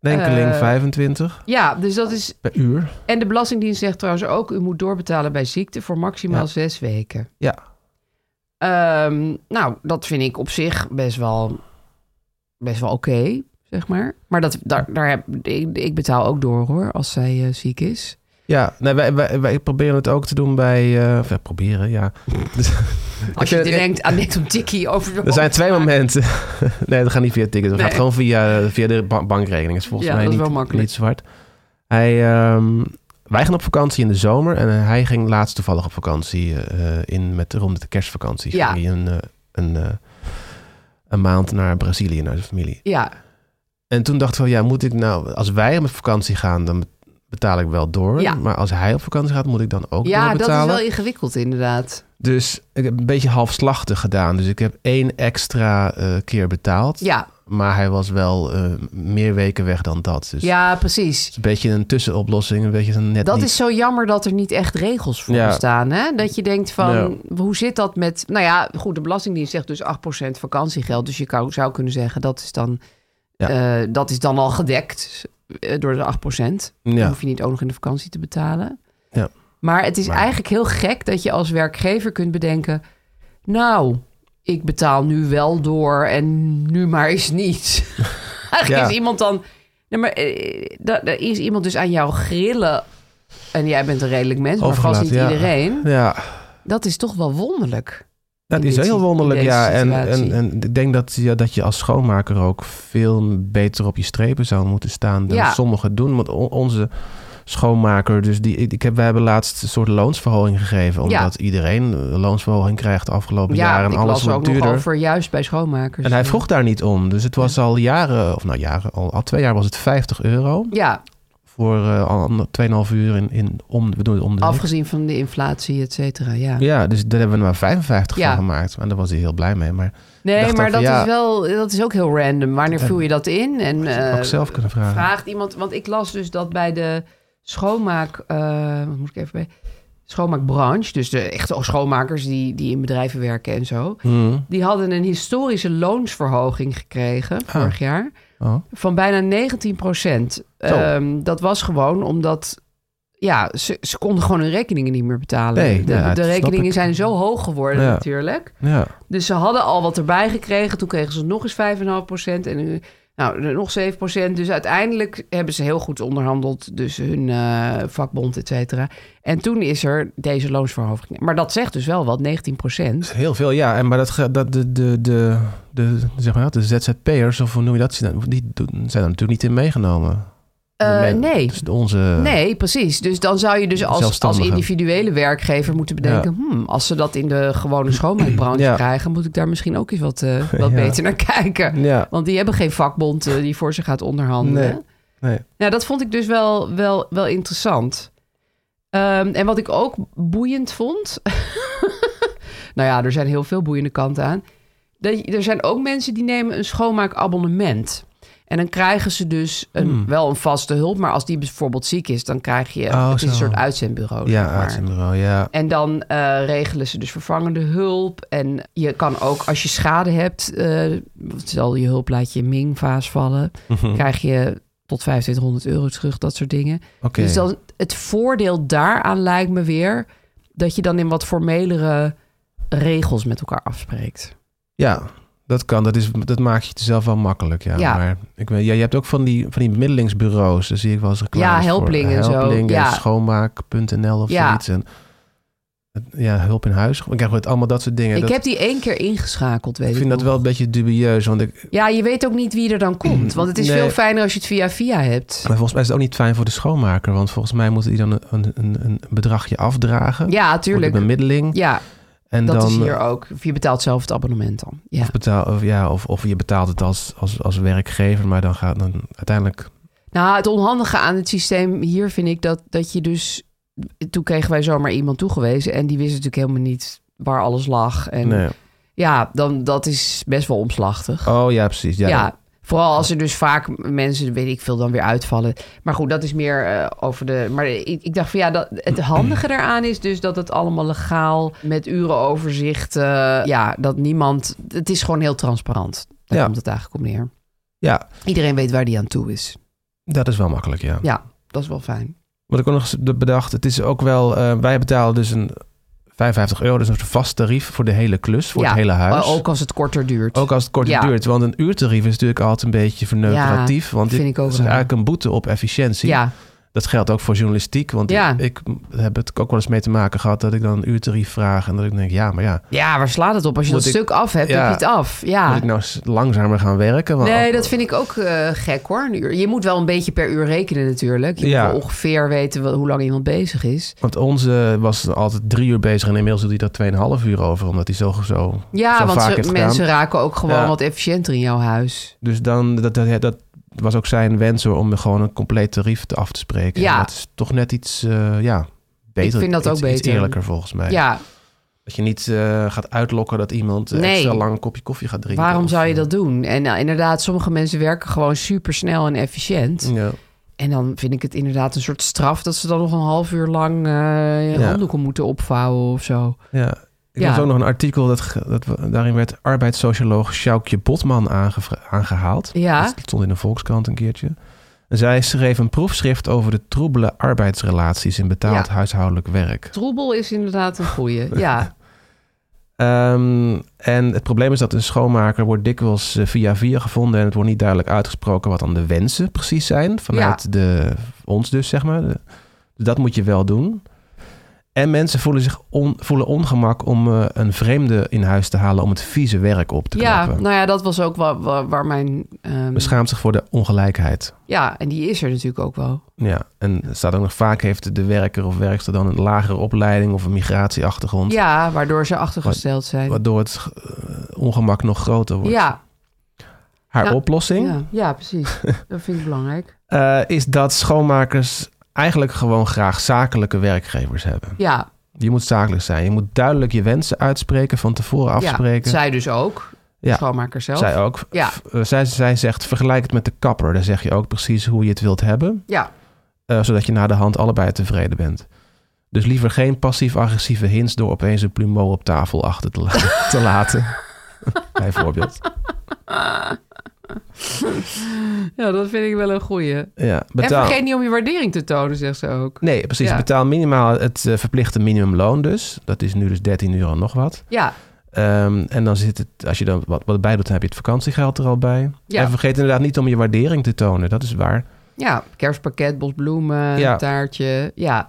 S2: Een enkeling
S3: eh,
S2: 25
S3: Ja, dus dat is...
S2: per uur.
S3: En de Belastingdienst zegt trouwens ook... u moet doorbetalen bij ziekte voor maximaal
S2: Ja.
S3: zes weken.
S2: Ja,
S3: Ehm, nou, dat vind ik op zich best wel, best wel oké, zeg maar. Maar dat, daar, daar heb, ik, ik betaal ook door, hoor, als zij eh, ziek is.
S2: ja nee, wij, wij, wij proberen het ook te doen bij... eh of, ja, proberen, ja.
S3: Als je
S2: vind- ik-
S3: denkt aan net om tikkie over... de
S2: e- Er zijn twee
S3: hoofd te maken.
S2: momenten. nee, dat gaat niet via tickets. Dat
S3: Nee.
S2: gaat gewoon via, via de ba- bankrekening. Dat is volgens
S3: Ja,
S2: mij
S3: dat is
S2: niet,
S3: wel makkelijk.
S2: niet zwart. Hij, ehm, wij gaan op vakantie in de zomer. En eh, hij ging laatst toevallig op vakantie eh, in, met rond de kerstvakantie.
S3: Ja.
S2: Ging hij een, eh, een, eh, een maand naar Brazilië, naar zijn familie.
S3: Ja,
S2: En toen dacht ik wel, ja, moet ik nou... Als wij op vakantie gaan, dan betaal ik wel door.
S3: Ja.
S2: Maar als hij op vakantie gaat, moet ik dan ook
S3: ja dat is
S2: doorbetalen.
S3: wel ingewikkeld, inderdaad.
S2: Dus ik heb een beetje halfslachtig gedaan. Dus ik heb één extra eh, keer betaald.
S3: Ja,
S2: Maar hij was wel eh, meer weken weg dan dat. Dus het
S3: ja precies.
S2: is een beetje een tussenoplossing. Een beetje een net
S3: Dat
S2: niet.
S3: is zo jammer dat er niet echt regels voor
S2: Ja.
S3: bestaan. Hè? Dat je denkt van, hoe zit dat met... Nou ja, goed, de Belastingdienst zegt dus 8% vakantiegeld. Dus je kou- zou kunnen zeggen, dat is dan,
S2: Ja.
S3: eh, dat is dan al gedekt eh, door de 8%. Dan
S2: Ja.
S3: hoef je niet ook nog in de vakantie te betalen.
S2: Ja.
S3: Maar het is
S2: Maar-
S3: eigenlijk heel gek dat je als werkgever kunt bedenken... Nou, ik betaal nu wel door en nu maar eens niet. eigenlijk
S2: Ja.
S3: is iemand dan... Nee, maar eh, da- daar is iemand dus aan jou grillen. En jij bent een redelijk mens, maar vast
S2: Overgelaten,
S3: niet
S2: ja.
S3: iedereen.
S2: Ja.
S3: Dat is toch wel wonderlijk.
S2: Dat
S3: in
S2: is
S3: dit
S2: heel
S3: si-
S2: wonderlijk,
S3: in deze
S2: ja. En, en,
S3: situatie.
S2: en ik denk dat, ja, dat je als schoonmaker ook veel beter op je strepen zou moeten staan dan
S3: Ja.
S2: sommigen doen. Want on- onze schoonmaker, dus die, ik ik heb, wij hebben laatst een soort loonsverhoging gegeven.
S3: Ja.
S2: Omdat iedereen een loonsverhoging krijgt de afgelopen jaren. En
S3: ik
S2: alles
S3: las ook
S2: wordt
S3: nog
S2: duurder.
S3: over juist bij schoonmakers.
S2: En hij vroeg daar niet om. Dus het was al jaren, of nou jaren, al, al twee jaar was het 50 euro.
S3: Ja,
S2: Voor eh, al ander- 2,5 uur in, in om, we doen het om de week.
S3: afgezien van de inflatie, et cetera. Ja.
S2: Ja, dus daar hebben we er maar 55
S3: Ja.
S2: van gemaakt. En daar was hij heel blij mee. Maar
S3: Nee,
S2: dacht
S3: maar
S2: ook
S3: dat,
S2: van, ja.
S3: is wel, dat is ook heel random. Wanneer
S2: Ja.
S3: vul je dat in? En,
S2: ook
S3: eh,
S2: zelf kunnen vragen.
S3: Vraagt iemand, want ik las dus dat bij de schoonmaak, eh, wat moet ik even bij, schoonmaakbranche, dus de echte schoonmakers die, die in bedrijven werken en zo,
S2: Hmm.
S3: die hadden een historische loonsverhoging gekregen vorig jaar
S2: Ah. Oh.
S3: van bijna 19 procent. Ehm,
S2: Zo.
S3: dat was gewoon omdat ja, ze, ze konden gewoon hun rekeningen niet meer betalen.
S2: Nee,
S3: de,
S2: ja, dat
S3: de
S2: snap ik.
S3: rekeningen zijn zo hoog geworden
S2: Ja.
S3: natuurlijk.
S2: Ja.
S3: Dus ze hadden al wat erbij gekregen. Toen kregen ze nog eens 5,5 En nu, nou, nog 7 Dus uiteindelijk hebben ze heel goed onderhandeld. Dus hun eh, vakbond, et cetera. En toen is er deze loonsverhoging. Maar dat zegt dus wel wat, 19
S2: Heel veel, ja. En, maar dat, ge- dat de, de, de, de, zeg maar, dat, de ZZP'ers, of hoe noem je dat, die doen- zijn er natuurlijk niet in meegenomen. De
S3: Eh,
S2: men-
S3: nee.
S2: Dus de- onze,
S3: Nee, precies. Dus dan zou je dus als, als
S2: Zelfstandigen.
S3: individuele werkgever moeten bedenken... hmm, als ze dat in de gewone schoonmaakbranche
S2: Ja.
S3: krijgen... moet ik daar misschien ook eens wat, eh, wat
S2: Ja.
S3: beter naar kijken.
S2: Ja,
S3: Want die hebben geen vakbond eh, die voor ze gaat onderhandelen.
S2: Nee. nee.
S3: Nou, dat vond ik dus wel, wel, wel interessant. Ehm, en wat ik ook boeiend vond. nou ja, er zijn heel veel boeiende kanten aan. Dat, je- er zijn ook mensen die nemen een schoonmaakabonnement. En dan krijgen ze dus een,
S2: Hmm.
S3: wel een vaste hulp. Maar als die bijvoorbeeld ziek is, dan krijg je
S2: Oh,
S3: het is een
S2: zo.
S3: soort uitzendbureau. zeg
S2: Ja,
S3: maar.
S2: uitzendbureau, ja.
S3: En dan eh, regelen ze dus vervangende hulp. En je kan ook als je schade hebt, eh, want stel je hulp laat je in Ming-vaas vallen,
S2: Hm.
S3: krijg je tot 2500 euro terug, dat soort dingen.
S2: Oké.
S3: Dus dan het voordeel daaraan lijkt me weer dat je dan in wat formelere regels met elkaar afspreekt.
S2: Ja, dat kan. Dat, is, dat maak je het zelf wel makkelijk. Ja.
S3: Ja.
S2: Maar ik weet, ja, je hebt ook van die, van die bemiddelingsbureaus. Daar zie ik wel eens reclames
S3: Ja,
S2: voor.
S3: Helpling en zo.
S2: Helpling
S3: Ja.
S2: schoonmaak.nl of
S3: Ja.
S2: zoiets. En, ja, hulp in huis. Ik krijg het allemaal dat soort dingen.
S3: ik
S2: dat,
S3: heb die één keer ingeschakeld, weet
S2: ik
S3: ik
S2: vind dat
S3: nog.
S2: wel een beetje dubieus. Want ik,
S3: Ja, je weet ook niet wie er dan komt. Want het is
S2: Mm, Nee.
S3: veel fijner als je het via via hebt.
S2: Maar volgens mij is het ook niet fijn voor de schoonmaker. Want volgens mij moeten die dan een, een, een bedragje afdragen.
S3: Ja,
S2: Voor de
S3: tuurlijk.
S2: bemiddeling.
S3: Ja,
S2: en
S3: dat
S2: dan,
S3: is hier ook. Of je betaalt zelf het abonnement dan. Ja.
S2: Of, betaal, of, ja, of, of je betaalt het als, als, als werkgever. Maar dan gaat dan uiteindelijk...
S3: Nou, het onhandige aan het systeem hier vind ik dat, dat je dus... Toen kregen wij zomaar iemand toegewezen en die wist natuurlijk helemaal niet waar alles lag. En
S2: Nee.
S3: ja, dan, dat is best wel omslachtig.
S2: Oh ja, precies. Ja,
S3: ja. Vooral als er dus vaak mensen, weet ik veel, dan weer uitvallen. Maar goed, dat is meer eh, over de... Maar ik, ik dacht van ja, dat, het handige daaraan is dus dat het allemaal legaal... met urenoverzichten, ja, dat niemand... Het is gewoon heel transparant. Daar
S2: Ja.
S3: komt het eigenlijk op neer.
S2: Ja,
S3: Iedereen weet waar die aan toe is.
S2: dat is wel makkelijk, ja.
S3: Ja, dat is wel fijn.
S2: Wat ik ook nog eens bedacht, het is ook wel... eh, wij betalen dus een 55 euro, dus een vast tarief voor de hele klus, voor het hele huis.
S3: Ook als het korter duurt.
S2: Ook als het kort
S3: Ja.
S2: duurt, want een uurtarief is natuurlijk altijd een beetje verneukeratief. want
S3: vind
S2: dit
S3: ik ook
S2: is
S3: raar.
S2: eigenlijk een boete op efficiëntie.
S3: ja,
S2: Dat geldt ook voor journalistiek, want
S3: Ja.
S2: ik heb het ook wel eens mee te maken gehad dat ik dan een uurtarief vraag en dat ik denk, ja, maar ja,
S3: ja, waar slaat het op? Als je
S2: Moet
S3: dat
S2: ik-
S3: stuk af hebt,
S2: ja.
S3: heb je het af. Ja.
S2: moet ik nou s- langzamer gaan werken? Want
S3: Ah. Nee, dat vind ik ook eh, gek hoor. Een uur. Je moet wel een beetje per uur rekenen natuurlijk. Je
S2: Ja.
S3: moet wel ongeveer weten wel hoe lang iemand bezig is.
S2: Want onze was altijd drie uur bezig en inmiddels doet hij daar 2,5 uur over, omdat hij zo, zo,
S3: Ja,
S2: zo
S3: want
S2: vaak
S3: ze-
S2: heeft gedaan.
S3: mensen raken ook gewoon
S2: Ja.
S3: wat efficiënter in jouw huis.
S2: Dus dan, dat, dat, dat was ook zijn wens hoor, om gewoon een compleet tarief te af te spreken.
S3: Ja.
S2: En Dat is toch net iets, eh, ja, beter.
S3: vind dat ook
S2: iets- iets
S3: beter.
S2: eerlijker volgens mij.
S3: Ja,
S2: Dat je niet eh, gaat uitlokken dat iemand eh,
S3: Nee.
S2: extra lang een kopje koffie gaat drinken.
S3: waarom
S2: of,
S3: zou je
S2: eh,
S3: dat doen? En nou, inderdaad, sommige mensen werken gewoon super snel en efficiënt.
S2: Ja.
S3: En dan vind ik het inderdaad een soort straf dat ze dan nog een half uur lang eh
S2: Ja.
S3: handdoeken moeten opvouwen of zo.
S2: Ja. Ik
S3: Ja.
S2: las ook nog een artikel, dat, ge- dat, we- daarin werd arbeidssocioloog Sjoukje Botman aangevra- aangehaald.
S3: Ja.
S2: Dat stond in de Volkskrant een keertje. En zij schreef een proefschrift over de troebele arbeidsrelaties in betaald
S3: Ja.
S2: huishoudelijk werk.
S3: Troebel is inderdaad een goeie. Ja,
S2: Ehm, en het probleem is dat een schoonmaker wordt dikwijls eh, via via gevonden en het wordt niet duidelijk uitgesproken wat dan de wensen precies zijn vanuit de, ons dus, zeg maar. De- dus dat moet je wel doen. En mensen voelen zich on, voelen ongemak om eh, een vreemde in huis te halen om het vieze werk op te
S3: Ja,
S2: knappen.
S3: nou ja, dat was ook waar, waar, waar mijn... ehm,
S2: Beschaamt zich voor de ongelijkheid.
S3: ja, en die is er natuurlijk ook wel.
S2: Ja, en er staat ook nog vaak heeft de werker of werkster dan een lagere opleiding of een migratieachtergrond.
S3: Ja, waardoor ze achtergesteld zijn.
S2: Waardoor het eh, ongemak nog groter wordt.
S3: ja,
S2: Haar
S3: Ja.
S2: oplossing
S3: ja, ja, precies. dat vind ik belangrijk.
S2: eh, is dat schoonmakers eigenlijk gewoon graag zakelijke werkgevers hebben.
S3: Ja,
S2: Je moet zakelijk zijn. Je moet duidelijk je wensen uitspreken, van tevoren afspreken.
S3: Ja, zij dus ook. De
S2: Ja.
S3: schoonmaker zelf.
S2: Zij ook.
S3: Ja.
S2: F- eh, zij, zij zegt, vergelijk het met de kapper. Daar zeg je ook precies hoe je het wilt hebben.
S3: Ja,
S2: eh, zodat je na de hand allebei tevreden bent. Dus liever geen passief-agressieve hints door opeens een plumeau op tafel achter te, la- te laten. Bijvoorbeeld.
S3: ja, dat vind ik wel een goeie.
S2: Ja,
S3: En
S2: betaal.
S3: vergeet niet om je waardering te tonen, zegt ze ook.
S2: Nee, precies.
S3: Ja.
S2: Betaal minimaal het eh, verplichte minimumloon dus. Dat is nu dus 13 euro nog wat.
S3: Ja,
S2: Ehm, en dan zit het, als je dan wat, wat bij doet, dan heb je het vakantiegeld er al bij.
S3: Ja.
S2: En vergeet inderdaad niet om je waardering te tonen. Dat is waar.
S3: ja. kerstpakket, bos bloemen,
S2: Ja.
S3: taartje. Ja.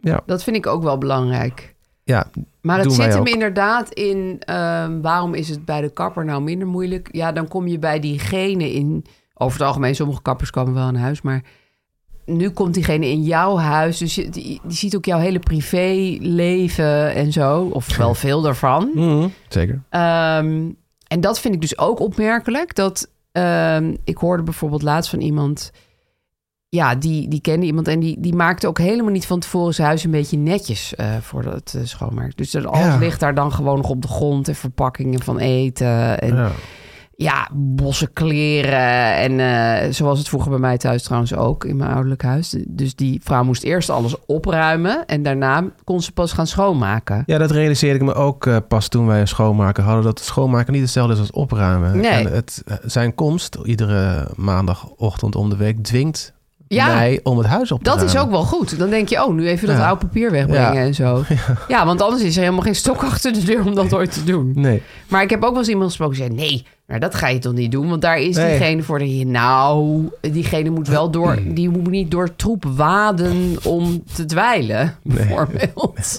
S2: Ja.
S3: dat vind ik ook wel belangrijk.
S2: Ja,
S3: Maar het
S2: Doen wij
S3: zit hem
S2: ook.
S3: inderdaad in ehm, waarom is het bij de kapper nou minder moeilijk? Ja, dan kom je bij diegene in. Over het algemeen, sommige kappers komen wel in huis, maar nu komt diegene in jouw huis. Dus je, die, die ziet ook jouw hele privéleven en zo, of wel veel daarvan.
S2: Mhm, zeker.
S3: Ehm, en dat vind ik dus ook opmerkelijk. Dat ehm, ik hoorde bijvoorbeeld laatst van iemand. Ja, die, die kende iemand en die, die maakte ook helemaal niet van tevoren zijn huis een beetje netjes eh, voor het eh, schoonmaken. Dus dat alles
S2: Ja.
S3: ligt daar dan gewoon nog op de grond en verpakkingen van eten. En
S2: Ja.
S3: ja, bossen kleren. En eh, zoals het vroeger bij mij thuis trouwens ook in mijn ouderlijk huis. Dus die vrouw moest eerst alles opruimen en daarna kon ze pas gaan schoonmaken.
S2: Ja, dat realiseerde ik me ook eh, pas toen wij een schoonmaker hadden. Dat schoonmaken niet hetzelfde is als opruimen.
S3: Nee.
S2: En het, zijn komst iedere maandagochtend om de week dwingt
S3: Ja.
S2: mij om het huis op te
S3: Dat
S2: ruimen.
S3: is ook wel goed. Dan denk je, oh, nu even dat
S2: Ja.
S3: oude papier wegbrengen
S2: Ja.
S3: en zo. Ja. want anders is er helemaal geen stok achter de deur om dat ooit te doen.
S2: Nee.
S3: Maar ik heb ook wel eens iemand gesproken die zei, nee, maar dat ga je toch niet doen? Want daar is
S2: Nee.
S3: diegene voor die, nou, diegene moet wel door, die moet niet door troep waden om te dweilen, bijvoorbeeld.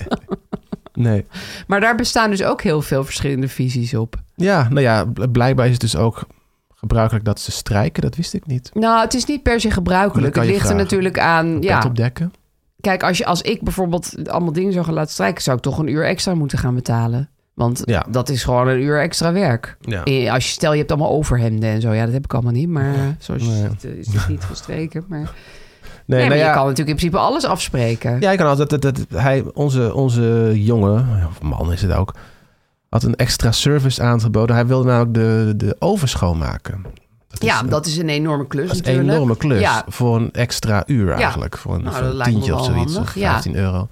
S2: Nee.
S3: Maar daar bestaan dus ook heel veel verschillende visies op.
S2: Ja, nou ja, bl- blijkbaar is het dus ook gebruikelijk dat ze strijken. Dat wist ik niet.
S3: Nou, het is niet per se gebruikelijk.
S2: Dat kan je
S3: Het ligt er
S2: vragen.
S3: natuurlijk aan. Ja.
S2: Pet opdekken.
S3: Kijk, als, je, als ik bijvoorbeeld allemaal dingen zou gaan laten strijken, zou ik toch een uur extra moeten gaan betalen. Want
S2: Ja.
S3: dat is gewoon een uur extra werk.
S2: Ja.
S3: Eh, Als je stel, je hebt allemaal overhemden en zo. Ja, dat heb ik allemaal niet. Maar eh, zoals je
S2: Nee.
S3: ziet, eh, is het niet gestreken. Maar, nee,
S2: Nee,
S3: maar
S2: nou
S3: je
S2: ja.
S3: kan natuurlijk in principe alles afspreken.
S2: Ja, ik kan altijd. Dat, dat, hij, onze, onze jongen, of man is het ook, had een extra service aangeboden. Hij wilde namelijk de, de oven schoonmaken. Dat is,
S3: Ja,
S2: eh,
S3: dat is een enorme klus
S2: dat is een
S3: natuurlijk.
S2: enorme klus
S3: Ja.
S2: voor een extra uur eigenlijk. Voor een,
S3: Nou,
S2: voor
S3: dat
S2: een
S3: lijkt me
S2: tientje of
S3: wel
S2: zoiets,
S3: handig,
S2: of
S3: ja.
S2: 15 euro.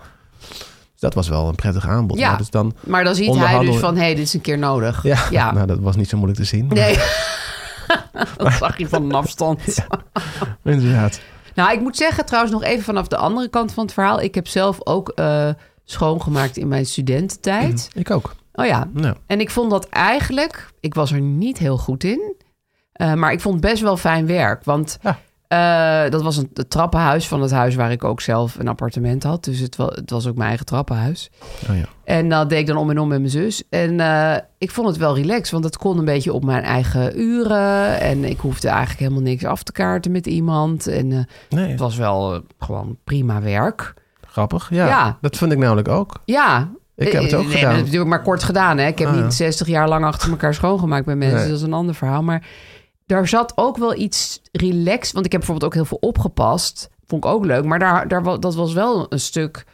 S2: Dus dat was wel een prettig aanbod.
S3: Ja.
S2: Nou, dus dan,
S3: Maar dan ziet hij
S2: Onderhandelen.
S3: dus van, hé, hey, dit is een keer nodig.
S2: ja,
S3: Ja.
S2: Nou, dat was niet zo moeilijk te zien. maar
S3: Nee. dat zag je van een afstand.
S2: Inderdaad.
S3: Nou, ik moet zeggen trouwens nog even vanaf de andere kant van het verhaal. Ik heb zelf ook eh, schoongemaakt in mijn studententijd.
S2: Ik ook.
S3: Oh ja,
S2: Nou,
S3: en ik vond dat eigenlijk... Ik was er niet heel goed in. eh, maar ik vond het best wel fijn werk. Want
S2: Ja.
S3: eh, dat was een, het trappenhuis van het huis waar ik ook zelf een appartement had. Dus het, wa- het was ook mijn eigen trappenhuis.
S2: oh ja.
S3: En dat deed ik dan om en om met mijn zus. En eh, ik vond het wel relaxed, want dat kon een beetje op mijn eigen uren. En ik hoefde eigenlijk helemaal niks af te kaarten met iemand. En eh,
S2: Nee,
S3: het was wel eh, gewoon prima werk.
S2: grappig. Ja,
S3: Ja.
S2: dat vind ik namelijk ook.
S3: Ja.
S2: Ik heb het ook
S3: Eh,
S2: gedaan.
S3: nee, Dat heb ik natuurlijk maar kort gedaan. Hè? Ik heb
S2: Ah, ja.
S3: niet 60 jaar lang achter elkaar schoongemaakt bij mensen.
S2: Nee.
S3: Dat is een ander verhaal. Maar daar zat ook wel iets relaxed. Want ik heb bijvoorbeeld ook heel veel opgepast. Vond ik ook leuk. Maar daar, daar, wa- dat was wel een stuk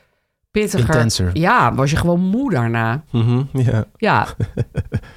S3: pittiger.
S2: Intenser. Mhm,
S3: Ja, was je gewoon moe daarna.
S2: Ja.
S3: Ja.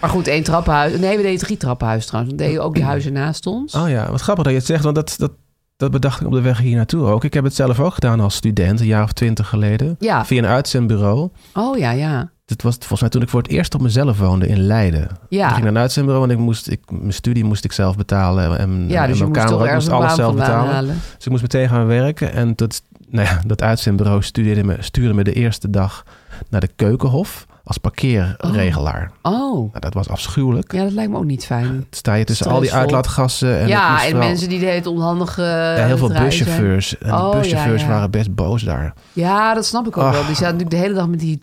S3: maar goed, één trappenhuis. Nee, we deden drie trappenhuis trouwens. We deden ook die huizen naast ons.
S2: Oh ja, wat grappig dat je het zegt, want dat, dat, dat bedacht ik op de weg hier naartoe ook. Ik heb het zelf ook gedaan als student, een jaar of twintig geleden.
S3: Ja.
S2: Via een uitzendbureau.
S3: Oh ja, ja.
S2: Dat was volgens mij toen ik voor het eerst op mezelf woonde in Leiden. Ik ging
S3: Ja.
S2: naar een uitzendbureau, want ik moest, ik, mijn studie moest ik zelf betalen. En,
S3: Ja,
S2: en
S3: dus je
S2: mijn
S3: moest
S2: kamer,
S3: toch
S2: ook, ik
S3: ergens
S2: moest
S3: een
S2: alles
S3: baan
S2: zelf
S3: vandaan
S2: betalen.
S3: halen.
S2: Dus ik moest meteen gaan werken. En dat, nou ja, dat uitzendbureau studeerde me, stuurde me de eerste dag naar de keukenhof. als parkeerregelaar.
S3: Oh,
S2: Nou, dat was afschuwelijk.
S3: ja, dat lijkt me ook niet fijn.
S2: Sta je tussen al die
S3: Stressvol.
S2: uitlaatgassen en het moest
S3: ja, en
S2: wel-
S3: mensen die de hele onhandige.
S2: Ja, heel veel
S3: draaien zijn.
S2: buschauffeurs. En
S3: Oh,
S2: die
S3: ja,
S2: buschauffeurs
S3: ja.
S2: waren best boos daar.
S3: Ja, dat snap ik ook
S2: Ah.
S3: wel. Die zaten natuurlijk de hele dag met die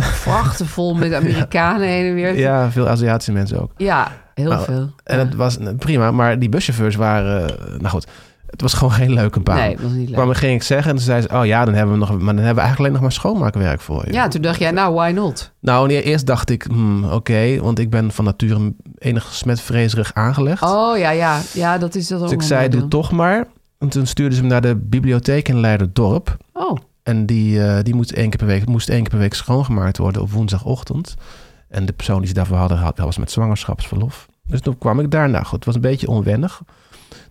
S3: vrachten vol met Amerikanen heen en weer.
S2: Ja, veel Aziatische mensen ook.
S3: Ja, heel
S2: Nou,
S3: veel.
S2: En
S3: Ja.
S2: dat was eh, prima, maar die buschauffeurs waren... eh, Nou goed, het was gewoon geen leuke baan.
S3: Nee, dat was niet
S2: Maar
S3: leuk.
S2: dan ging ik zeggen en toen zei ze... Oh ja, dan hebben we, nog, maar dan hebben we eigenlijk alleen nog maar schoonmaakwerk voor je.
S3: Ja, toen dacht jij, nou, why not?
S2: Nou, nee, eerst dacht ik, hmm, oké, want ik ben van nature enig smetvrezerig aangelegd.
S3: Oh ja, ja, ja, dat is dat ook.
S2: dus ik
S3: wel
S2: zei,
S3: een
S2: doe
S3: nadeel.
S2: toch maar. En toen stuurden ze hem naar de bibliotheek in Leiderdorp.
S3: Oh,
S2: En die, eh, die moet één keer per week, moest één keer per week schoongemaakt worden op woensdagochtend. En de persoon die ze daarvoor hadden, had, was met zwangerschapsverlof. Dus toen kwam ik daar. Nou goed, het was een beetje onwennig.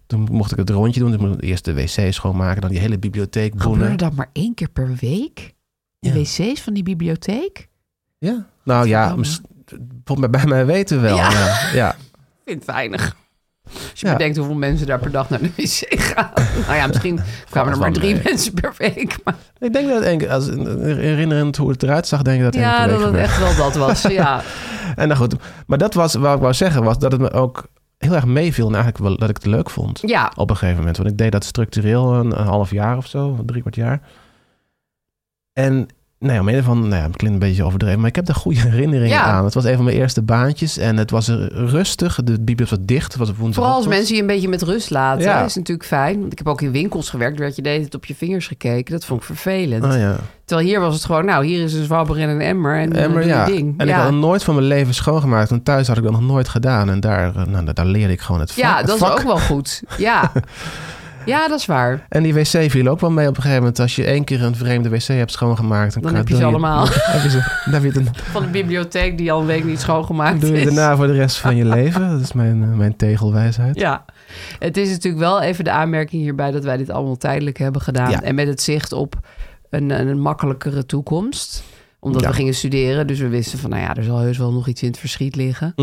S2: Toen mocht ik het rondje doen. Dus ik moest eerst de wc schoonmaken, dan die hele bibliotheek boenen.
S3: gebeurde dat maar één keer per week? De
S2: Ja.
S3: wc's van die bibliotheek?
S2: Ja. Nou ja,
S3: Godverdomme.
S2: mis- volgens mij bij mij weten wel.
S3: Ja.
S2: Ja. ja.
S3: Ik vind het weinig. Als je
S2: Ja.
S3: bedenkt hoeveel mensen daar per dag naar de wc gaan. Nou ja, misschien kwamen er
S2: wel
S3: maar drie
S2: mee.
S3: mensen per week. Maar
S2: Ik denk dat, het één- als, herinnerend hoe het eruit zag, denk ik dat het één
S3: ja,
S2: keer per
S3: dat
S2: week
S3: het
S2: gebeurde.
S3: echt wel dat was. Ja,
S2: En nou goed, maar dat was wat ik wou zeggen, was dat het me ook heel erg meeviel. En eigenlijk wel dat ik het leuk vond.
S3: ja.
S2: op een gegeven moment. Want ik deed dat structureel een, een half jaar of zo, drie kwart jaar. En nou ja, om een van, nou ja, het klinkt een beetje overdreven, maar ik heb daar goede herinneringen
S3: Ja.
S2: aan. Het was een van mijn eerste baantjes en het was er rustig. De bibliotheek was dicht, het was op woensdag.
S3: Vooral als mensen je een beetje met rust laten,
S2: Ja.
S3: is natuurlijk fijn. Want ik heb ook in winkels gewerkt, daar werd je de hele tijd op je vingers gekeken. Dat vond ik vervelend.
S2: Ah, ja.
S3: Terwijl hier was het gewoon, nou, hier is een zwabber en een emmer en eh,
S2: Emmer,
S3: doe je
S2: ja.
S3: ding.
S2: En ik
S3: ja.
S2: had nog nooit van mijn leven schoongemaakt. En thuis had ik dat nog nooit gedaan. En daar, eh, nou, daar- daar leerde ik gewoon het vak.
S3: ja, dat is
S2: vak.
S3: ook wel goed. Ja. ja, dat is waar.
S2: En die wc viel ook wel mee op een gegeven moment. Als je één keer een vreemde wc hebt schoongemaakt... Dan,
S3: Dan
S2: kan-
S3: heb je ze
S2: doe
S3: allemaal.
S2: Dan heb je ze- dan heb je het een-
S3: Van de bibliotheek die al een week niet schoongemaakt
S2: Doe je
S3: is.
S2: daarna voor de rest van je leven. Dat is mijn, eh, mijn tegelwijsheid.
S3: Ja, het is natuurlijk wel even de aanmerking hierbij dat wij dit allemaal tijdelijk hebben gedaan.
S2: Ja.
S3: En met het zicht op een, een makkelijkere toekomst. Omdat
S2: Ja.
S3: we gingen studeren, dus we wisten van, nou ja, er zal heus wel nog iets in het verschiet liggen.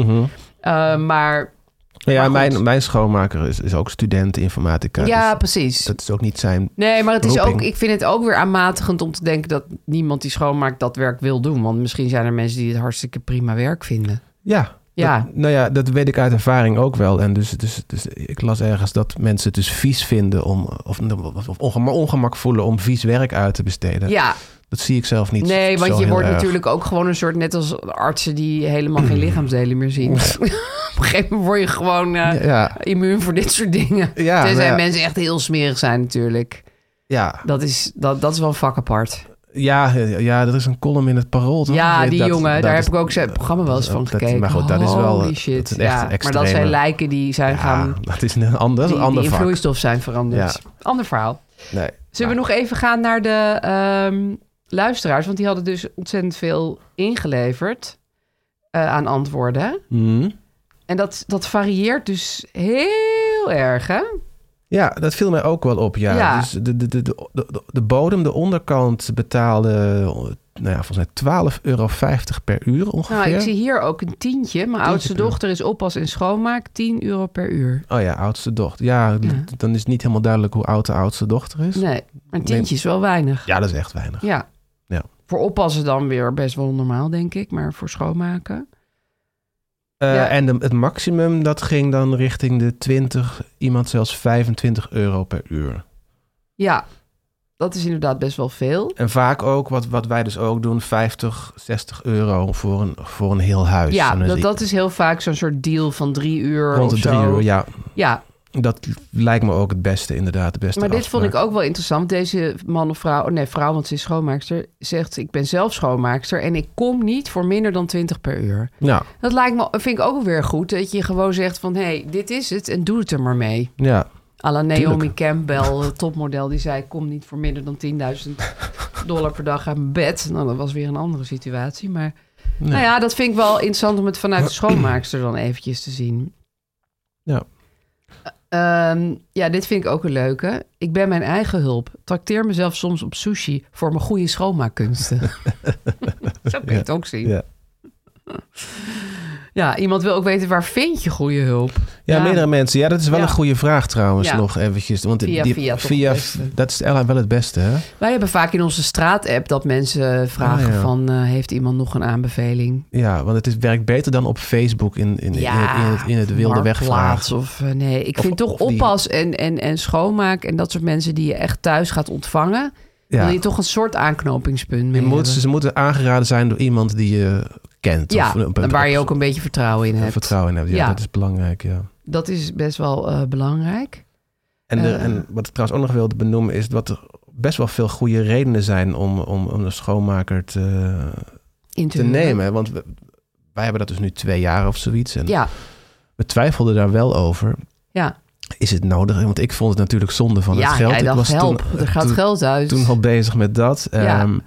S3: Eh, maar
S2: Ja,
S3: goed.
S2: mijn, mijn schoonmaker is, is ook student informatica.
S3: ja,
S2: dus
S3: precies.
S2: dat is ook niet zijn.
S3: Nee, maar het is
S2: roeping.
S3: ook, ik vind het ook weer aanmatigend om te denken dat niemand die schoonmaakt dat werk wil doen. Want misschien zijn er mensen die het hartstikke prima werk vinden.
S2: Ja.
S3: Ja.
S2: Dat- nou ja, dat weet ik uit ervaring ook wel. En dus, dus, dus ik las ergens dat mensen het dus vies vinden om. Of, of ongemak, ongemak voelen om vies werk uit te besteden.
S3: ja,
S2: Dat zie ik zelf niet.
S3: Nee,
S2: zo
S3: want je
S2: heel
S3: wordt
S2: erg.
S3: natuurlijk ook gewoon een soort... net als artsen die helemaal geen lichaamsdelen meer zien. Op een gegeven moment word je gewoon
S2: Ja,
S3: eh,
S2: ja,
S3: immuun voor dit soort dingen.
S2: Ja,
S3: Tenzij
S2: maar ja.
S3: mensen echt heel smerig zijn natuurlijk.
S2: ja,
S3: Dat is, dat, dat is wel een vak apart.
S2: ja, ja, er is een column in het parool. toch?
S3: ja,
S2: Dat-
S3: die
S2: dat-
S3: jongen,
S2: dat
S3: daar
S2: is-
S3: heb ik ook zijn programma wel eens van
S2: dat-
S3: gekeken.
S2: Maar goed, dat is wel.
S3: Holy
S2: dat
S3: shit,
S2: is echt
S3: ja.
S2: een
S3: Maar dat zijn
S2: extreme-
S3: lijken die zijn gaan...
S2: Ja, dat is een ander,
S3: Die,
S2: ander
S3: die in
S2: vak.
S3: vloeistof zijn veranderd.
S2: Ja.
S3: Ander verhaal.
S2: Nee.
S3: Zullen we nog even gaan naar de ehm, luisteraars? Want die hadden dus ontzettend veel ingeleverd eh, aan antwoorden.
S2: Hmm.
S3: En dat, dat varieert dus heel erg, hè?
S2: Ja, dat viel mij ook wel op. Ja.
S3: Ja.
S2: Dus de, de, de, de, de- de bodem, de onderkant betaalde eh, nou ja, volgens mij 12,50 euro per uur ongeveer.
S3: Nou, ik zie hier ook een tientje. Mijn oudste
S2: per uur.
S3: dochter is oppas en schoonmaak, 10 euro per uur.
S2: Oh ja, oudste dochter. Ja, d-
S3: Ja.
S2: dan is het niet helemaal duidelijk hoe oud de oudste dochter is.
S3: Nee, maar een tientje is wel weinig.
S2: Ja, dat is echt weinig.
S3: Ja.
S2: Ja.
S3: Voor oppassen dan weer best wel normaal, denk ik. Maar voor schoonmaken...
S2: Eh,
S3: Ja.
S2: En de- het maximum, dat ging dan richting de 20, iemand zelfs 25 euro per uur.
S3: Ja, dat is inderdaad best wel veel.
S2: En vaak ook, wat, wat wij dus ook doen, 50, 60 euro voor een, voor een heel huis.
S3: Ja,
S2: En dan
S3: dat,
S2: zie-
S3: dat is heel vaak zo'n soort deal van drie uur
S2: rond de
S3: of
S2: drie
S3: zo.
S2: uur. Ja,
S3: Ja,
S2: dat lijkt me ook het beste inderdaad. De beste
S3: maar dit vond ik
S2: afspraak.
S3: ook wel interessant. Deze man of vrouw, oh nee, vrouw, want ze is schoonmaakster, zegt: Ik ben zelf schoonmaakster en ik kom niet voor minder dan 20 per uur.
S2: Ja,
S3: Dat lijkt me, vind ik ook weer goed. Dat je gewoon zegt: van, Hé, hey, dit is het en doe het er maar mee.
S2: ja.
S3: À la Naomi
S2: Tuurlijk.
S3: Campbell, eh, topmodel, die zei: Kom niet voor minder dan 10.000 dollar per dag uit mijn bed. Nou, dat was weer een andere situatie. Maar
S2: Nee.
S3: nou ja, dat vind ik wel interessant om het vanuit de schoonmaakster dan eventjes te zien.
S2: Ja.
S3: Ehm, ja, dit vind ik ook een leuke. Ik ben mijn eigen hulp. Trakteer mezelf soms op sushi voor mijn goede schoonmaakkunsten. Zo kun je het ook zien.
S2: Ja.
S3: Ja, iemand wil ook weten waar vind je goede hulp.
S2: ja. Ja,
S3: Ja.
S2: meerdere mensen. Ja, dat is wel
S3: Ja.
S2: een goede vraag trouwens
S3: Ja.
S2: nog eventjes. Want
S3: Via
S2: die,
S3: via toch
S2: via-
S3: het beste.
S2: dat is wel het beste, hè?
S3: Wij hebben vaak in onze straat-app dat mensen vragen
S2: Ah, ja.
S3: van... eh, heeft iemand nog een aanbeveling?
S2: Ja, want het is, werkt beter dan op Facebook in, in, in, in het, in het
S3: of
S2: wilde
S3: Marktplaats
S2: wegvragen.
S3: Of, eh, nee, ik
S2: Of-
S3: vind toch
S2: of die-
S3: oppas en, en, en schoonmaak... en dat soort mensen die je echt thuis gaat ontvangen... wil je toch een soort aanknopingspunt
S2: Je
S3: mee
S2: moet,
S3: hebben.
S2: ze moeten aangeraden zijn door iemand die je kent.
S3: Ja,
S2: of, een-
S3: en waar je ook een beetje vertrouwen in hebt.
S2: vertrouwen in hebt. Ja,
S3: Ja.
S2: dat is belangrijk, ja.
S3: Dat is best wel eh, belangrijk.
S2: En, de-
S3: Eh.
S2: en wat ik trouwens ook nog wilde benoemen is dat er best wel veel goede redenen zijn om, om, om een schoonmaker te,
S3: In
S2: te
S3: huren.
S2: nemen. Want we- wij hebben dat dus nu twee jaar of zoiets. En
S3: Ja,
S2: we twijfelden daar wel over.
S3: ja.
S2: Is het nodig? Want ik vond het natuurlijk zonde van
S3: ja
S2: het geld.
S3: jij
S2: ik
S3: dacht,
S2: was
S3: help,
S2: toen, eh,
S3: er gaat
S2: toen-
S3: geld uit.
S2: toen al bezig met dat.
S3: Ja.
S2: Ehm,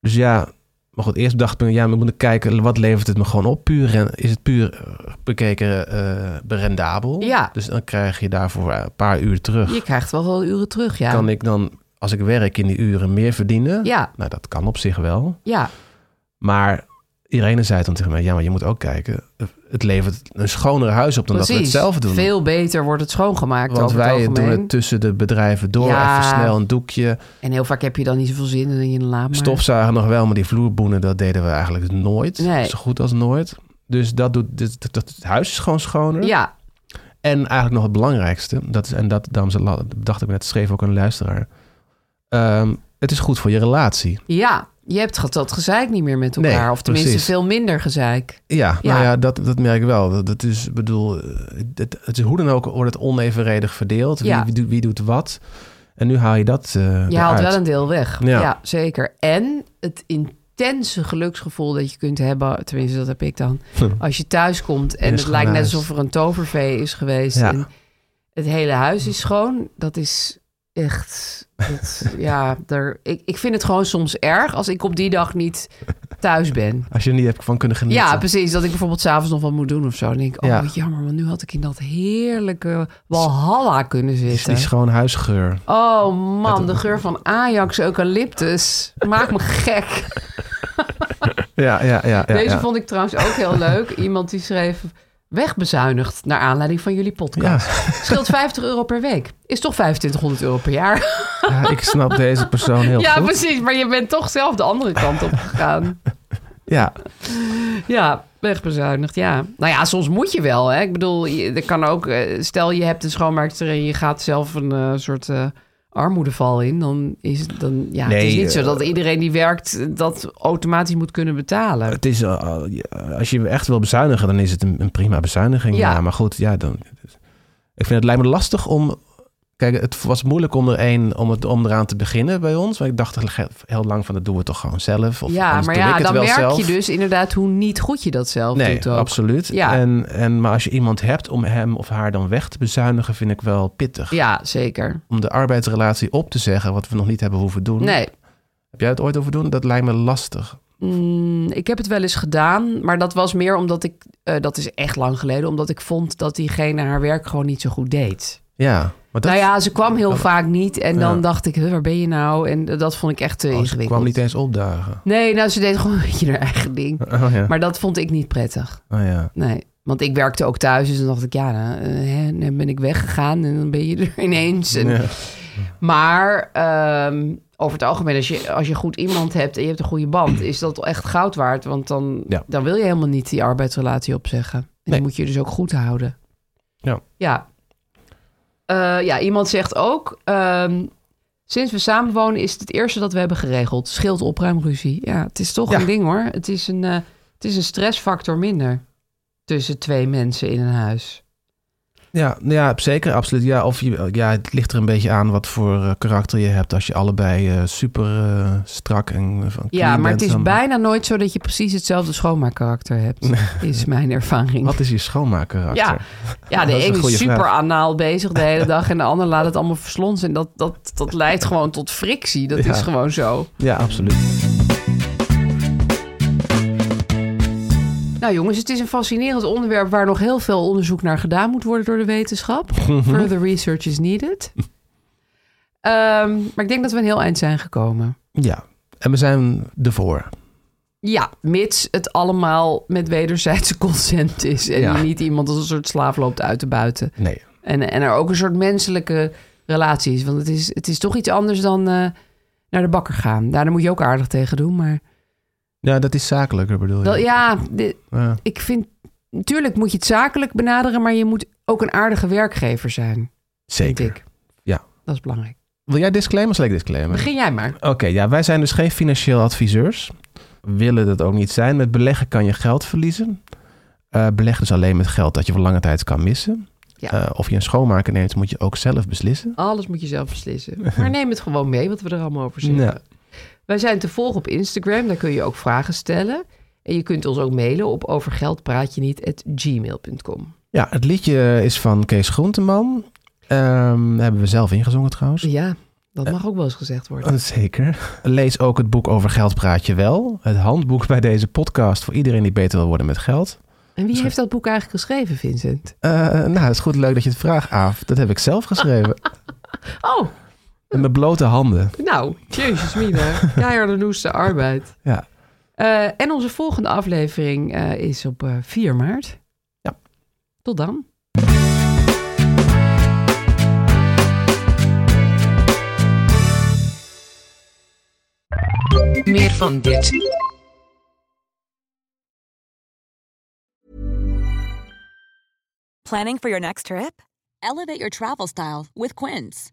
S2: dus ja, maar goed, eerst dacht ik, ja, we moeten kijken, wat levert het me gewoon op? Puur en is het puur eh, bekeken eh rendabel?
S3: Ja.
S2: Dus dan krijg je daarvoor eh, een paar uur terug.
S3: Je krijgt wel wel uren terug, ja.
S2: Kan ik dan, als ik werk in die uren, meer verdienen?
S3: Ja,
S2: Nou, dat kan op zich wel.
S3: ja.
S2: Maar Irene zei dan tegen mij, ja, maar je moet ook kijken, eh, het levert een schoner huis op dan dat we
S3: precies.
S2: het zelf doen.
S3: Veel beter wordt het schoongemaakt
S2: Want
S3: over
S2: wij
S3: het
S2: doen
S3: algemeen.
S2: het tussen de bedrijven door,
S3: Ja.
S2: even snel een doekje.
S3: En heel vaak heb je dan niet zoveel zin in je laat maar.
S2: Stofzuigen nog wel, maar die vloerboenen, dat deden we eigenlijk nooit.
S3: Nee.
S2: Zo goed als nooit. Dus dat doet, dit- dat, dat- het huis is gewoon schoner.
S3: Ja,
S2: En eigenlijk nog het belangrijkste, dat is, en dat dames, dacht ik net, schreef ook een luisteraar. Ehm, het is goed voor je relatie.
S3: ja. Je hebt ge- dat gezeik niet meer met
S2: Nee,
S3: elkaar. of tenminste
S2: precies.
S3: veel minder gezeik.
S2: Ja,
S3: Ja.
S2: nou ja, dat, dat merk ik wel. Dat, dat is, ik bedoel, eh, het, het is hoe dan ook wordt het onevenredig verdeeld. Wie,
S3: Ja.
S2: wie, doet- wie doet wat? En nu haal je dat eh
S3: Je haalt
S2: eruit.
S3: wel een deel weg. Ja.
S2: Ja.
S3: zeker. En het intense geluksgevoel dat je kunt hebben, tenminste dat heb ik dan, als je thuis komt en
S2: In een
S3: het
S2: schoon
S3: lijkt net
S2: huis.
S3: alsof er een tovervee is geweest
S2: Ja.
S3: en het hele huis is schoon, dat is echt, dat, ja, daar, ik, ik vind het gewoon soms erg als ik op die dag niet thuis ben.
S2: Als je er niet hebt van kunnen genieten.
S3: Ja, precies. Dat ik bijvoorbeeld s'avonds nog wat moet doen of zo. Dan denk ik, oh
S2: Ja.
S3: jammer, want nu had ik in dat heerlijke walhalla kunnen zitten.
S2: Die schoon huisgeur.
S3: Oh man, de geur van Ajax eucalyptus. Maakt me gek.
S2: Ja, ja, ja. ja,
S3: Deze
S2: ja.
S3: vond ik trouwens ook heel leuk. Iemand die schreef... Wegbezuinigd naar aanleiding van jullie
S2: ja.
S3: podcast. Scheelt 50 euro per week. Is toch 2500 euro per jaar?
S2: Ja, ik snap deze persoon heel
S3: ja,
S2: goed.
S3: precies. Maar je bent toch zelf de andere kant op gegaan.
S2: Ja,
S3: Ja, wegbezuinigd, ja. Nou ja, soms moet je wel. Hè? Ik bedoel, je, er kan ook... eh, Stel, je hebt een schoonmaakster en je gaat zelf een eh, soort... eh, armoedeval in, dan is het dan ja, het
S2: Nee,
S3: is niet zo
S2: eh,
S3: dat iedereen die werkt eh, dat automatisch moet kunnen betalen.
S2: het is, eh, als je echt wil bezuinigen, dan is het een, een prima bezuiniging.
S3: Ja.
S2: Ja. maar goed, ja, dan, ik vind het lijkt me lastig om... Kijk, het was moeilijk om, er één, om, het, om eraan te beginnen bij ons. Maar ik dacht heel lang van, dat doen we toch gewoon zelf. Of
S3: ja,
S2: anders
S3: maar
S2: doe ik
S3: ja,
S2: het
S3: dan
S2: wel
S3: merk
S2: zelf.
S3: je dus inderdaad hoe niet goed je dat zelf
S2: Nee,
S3: doet ook.
S2: absoluut.
S3: Ja.
S2: En, en, maar als je iemand hebt om hem of haar dan weg te bezuinigen, vind ik wel pittig.
S3: Ja, zeker.
S2: Om de arbeidsrelatie op te zeggen, wat we nog niet hebben hoeven doen.
S3: Nee,
S2: Heb jij het ooit over doen? Dat lijkt me lastig.
S3: Mm, ik heb het wel eens gedaan, maar dat was meer omdat ik, eh, dat is echt lang geleden, omdat ik vond dat diegene haar werk gewoon niet zo goed deed.
S2: Ja, maar dat,
S3: Nou ja, ze kwam heel vaak niet en dan
S2: Ja.
S3: dacht ik, huh, waar ben je nou? En eh, dat vond ik echt te
S2: Oh, ze
S3: ingewikkeld.
S2: kwam niet eens opdagen.
S3: Nee, nou ze deed gewoon een beetje haar eigen ding.
S2: Oh ja.
S3: Maar dat vond ik niet prettig.
S2: oh, ja.
S3: Nee, want ik werkte ook thuis, dus dan dacht ik, ja, nou, eh, hè, dan ben ik weggegaan en dan ben je er ineens. En-
S2: Ja.
S3: Maar ehm, over het algemeen, als je, als je goed iemand hebt en je hebt een goede band, is dat echt goud waard. Want dan,
S2: Ja.
S3: dan wil je helemaal niet die arbeidsrelatie opzeggen. En
S2: Nee.
S3: die moet je dus ook goed houden.
S2: Ja.
S3: Ja, Eh, ja iemand zegt ook, ehm, sinds we samenwonen is het het eerste dat we hebben geregeld. Scheelt opruimruzie. Ja, het is toch
S2: Ja.
S3: een ding hoor. Het is een, eh, het is een stressfactor minder tussen twee mensen in een huis.
S2: Ja, nou ja, zeker, absoluut. Ja, of je, ja, het ligt er een beetje aan wat voor eh, karakter je hebt. Als je allebei eh, super eh, strak en eh, van
S3: Ja,
S2: clean
S3: maar het
S2: bent,
S3: is
S2: dan-
S3: bijna nooit zo dat je precies hetzelfde schoonmaakkarakter hebt, is mijn ervaring.
S2: Wat is je schoonmaker?
S3: Ja, ja, de
S2: Dat is een
S3: ene is
S2: goede
S3: super
S2: vraag.
S3: anaal bezig de hele dag en de ander laat het allemaal verslonsen. En dat, dat, dat leidt gewoon tot frictie. Dat
S2: Ja.
S3: is gewoon zo.
S2: ja, absoluut.
S3: Nou jongens, het is een fascinerend onderwerp waar nog heel veel onderzoek naar gedaan moet worden door de wetenschap.
S2: Mhm.
S3: Further research is needed. Ehm, maar ik denk dat we een heel eind zijn gekomen.
S2: Ja, en we zijn ervoor.
S3: Ja, mits het allemaal met wederzijdse consent is. En
S2: Ja.
S3: je niet iemand als een soort slaaf loopt uit te buiten.
S2: Nee.
S3: En, en er ook een soort menselijke relatie is. Want het is, het is toch iets anders dan eh, naar de bakker gaan. Daar moet je ook aardig tegen doen. Maar
S2: Ja, dat is zakelijker bedoel je.
S3: wel, Oh ja, di-
S2: Ja.
S3: ik vind... Natuurlijk moet je het zakelijk benaderen, maar je moet ook een aardige werkgever zijn. Vind
S2: Zeker.
S3: ik.
S2: Ja.
S3: Dat is belangrijk.
S2: Wil jij disclaimer? Zal ik disclaimer?
S3: Begin jij maar.
S2: Oké, ja, wij zijn dus geen financieel adviseurs. Willen dat ook niet zijn. Met beleggen kan je geld verliezen. Eh beleg dus alleen met geld dat je voor lange tijd kan missen.
S3: Ja.
S2: Eh, of je een schoonmaker neemt, moet je ook zelf beslissen.
S3: Alles moet je zelf beslissen. Maar neem het gewoon mee, wat we er allemaal over zeggen.
S2: Ja.
S3: Wij zijn te volgen op Instagram. Daar kun je ook vragen stellen. En je kunt ons ook mailen op overgeldpraatjeniet.gmail.com.
S2: ja, het liedje is van Kees Groenteman. Ehm, hebben we zelf ingezongen trouwens.
S3: Ja, dat mag ook wel eens gezegd worden.
S2: Oh, Zeker. Lees ook het boek over geld praat je wel. Het handboek bij deze podcast voor iedereen die beter wil worden met geld.
S3: En wie heeft dat boek eigenlijk geschreven, Vincent?
S2: Eh, nou, het is goed leuk dat je het vraagt, Aaf. Dat heb ik zelf geschreven.
S3: Oh,
S2: Met mijn blote handen.
S3: nou, jezus mina. Keiharde noeste arbeid.
S2: Ja.
S3: Eh, en onze volgende aflevering eh, is op eh, 4 maart.
S2: Ja.
S3: Tot dan.
S4: Meer van dit.
S5: Planning for your next trip? Elevate your travel style with Quince.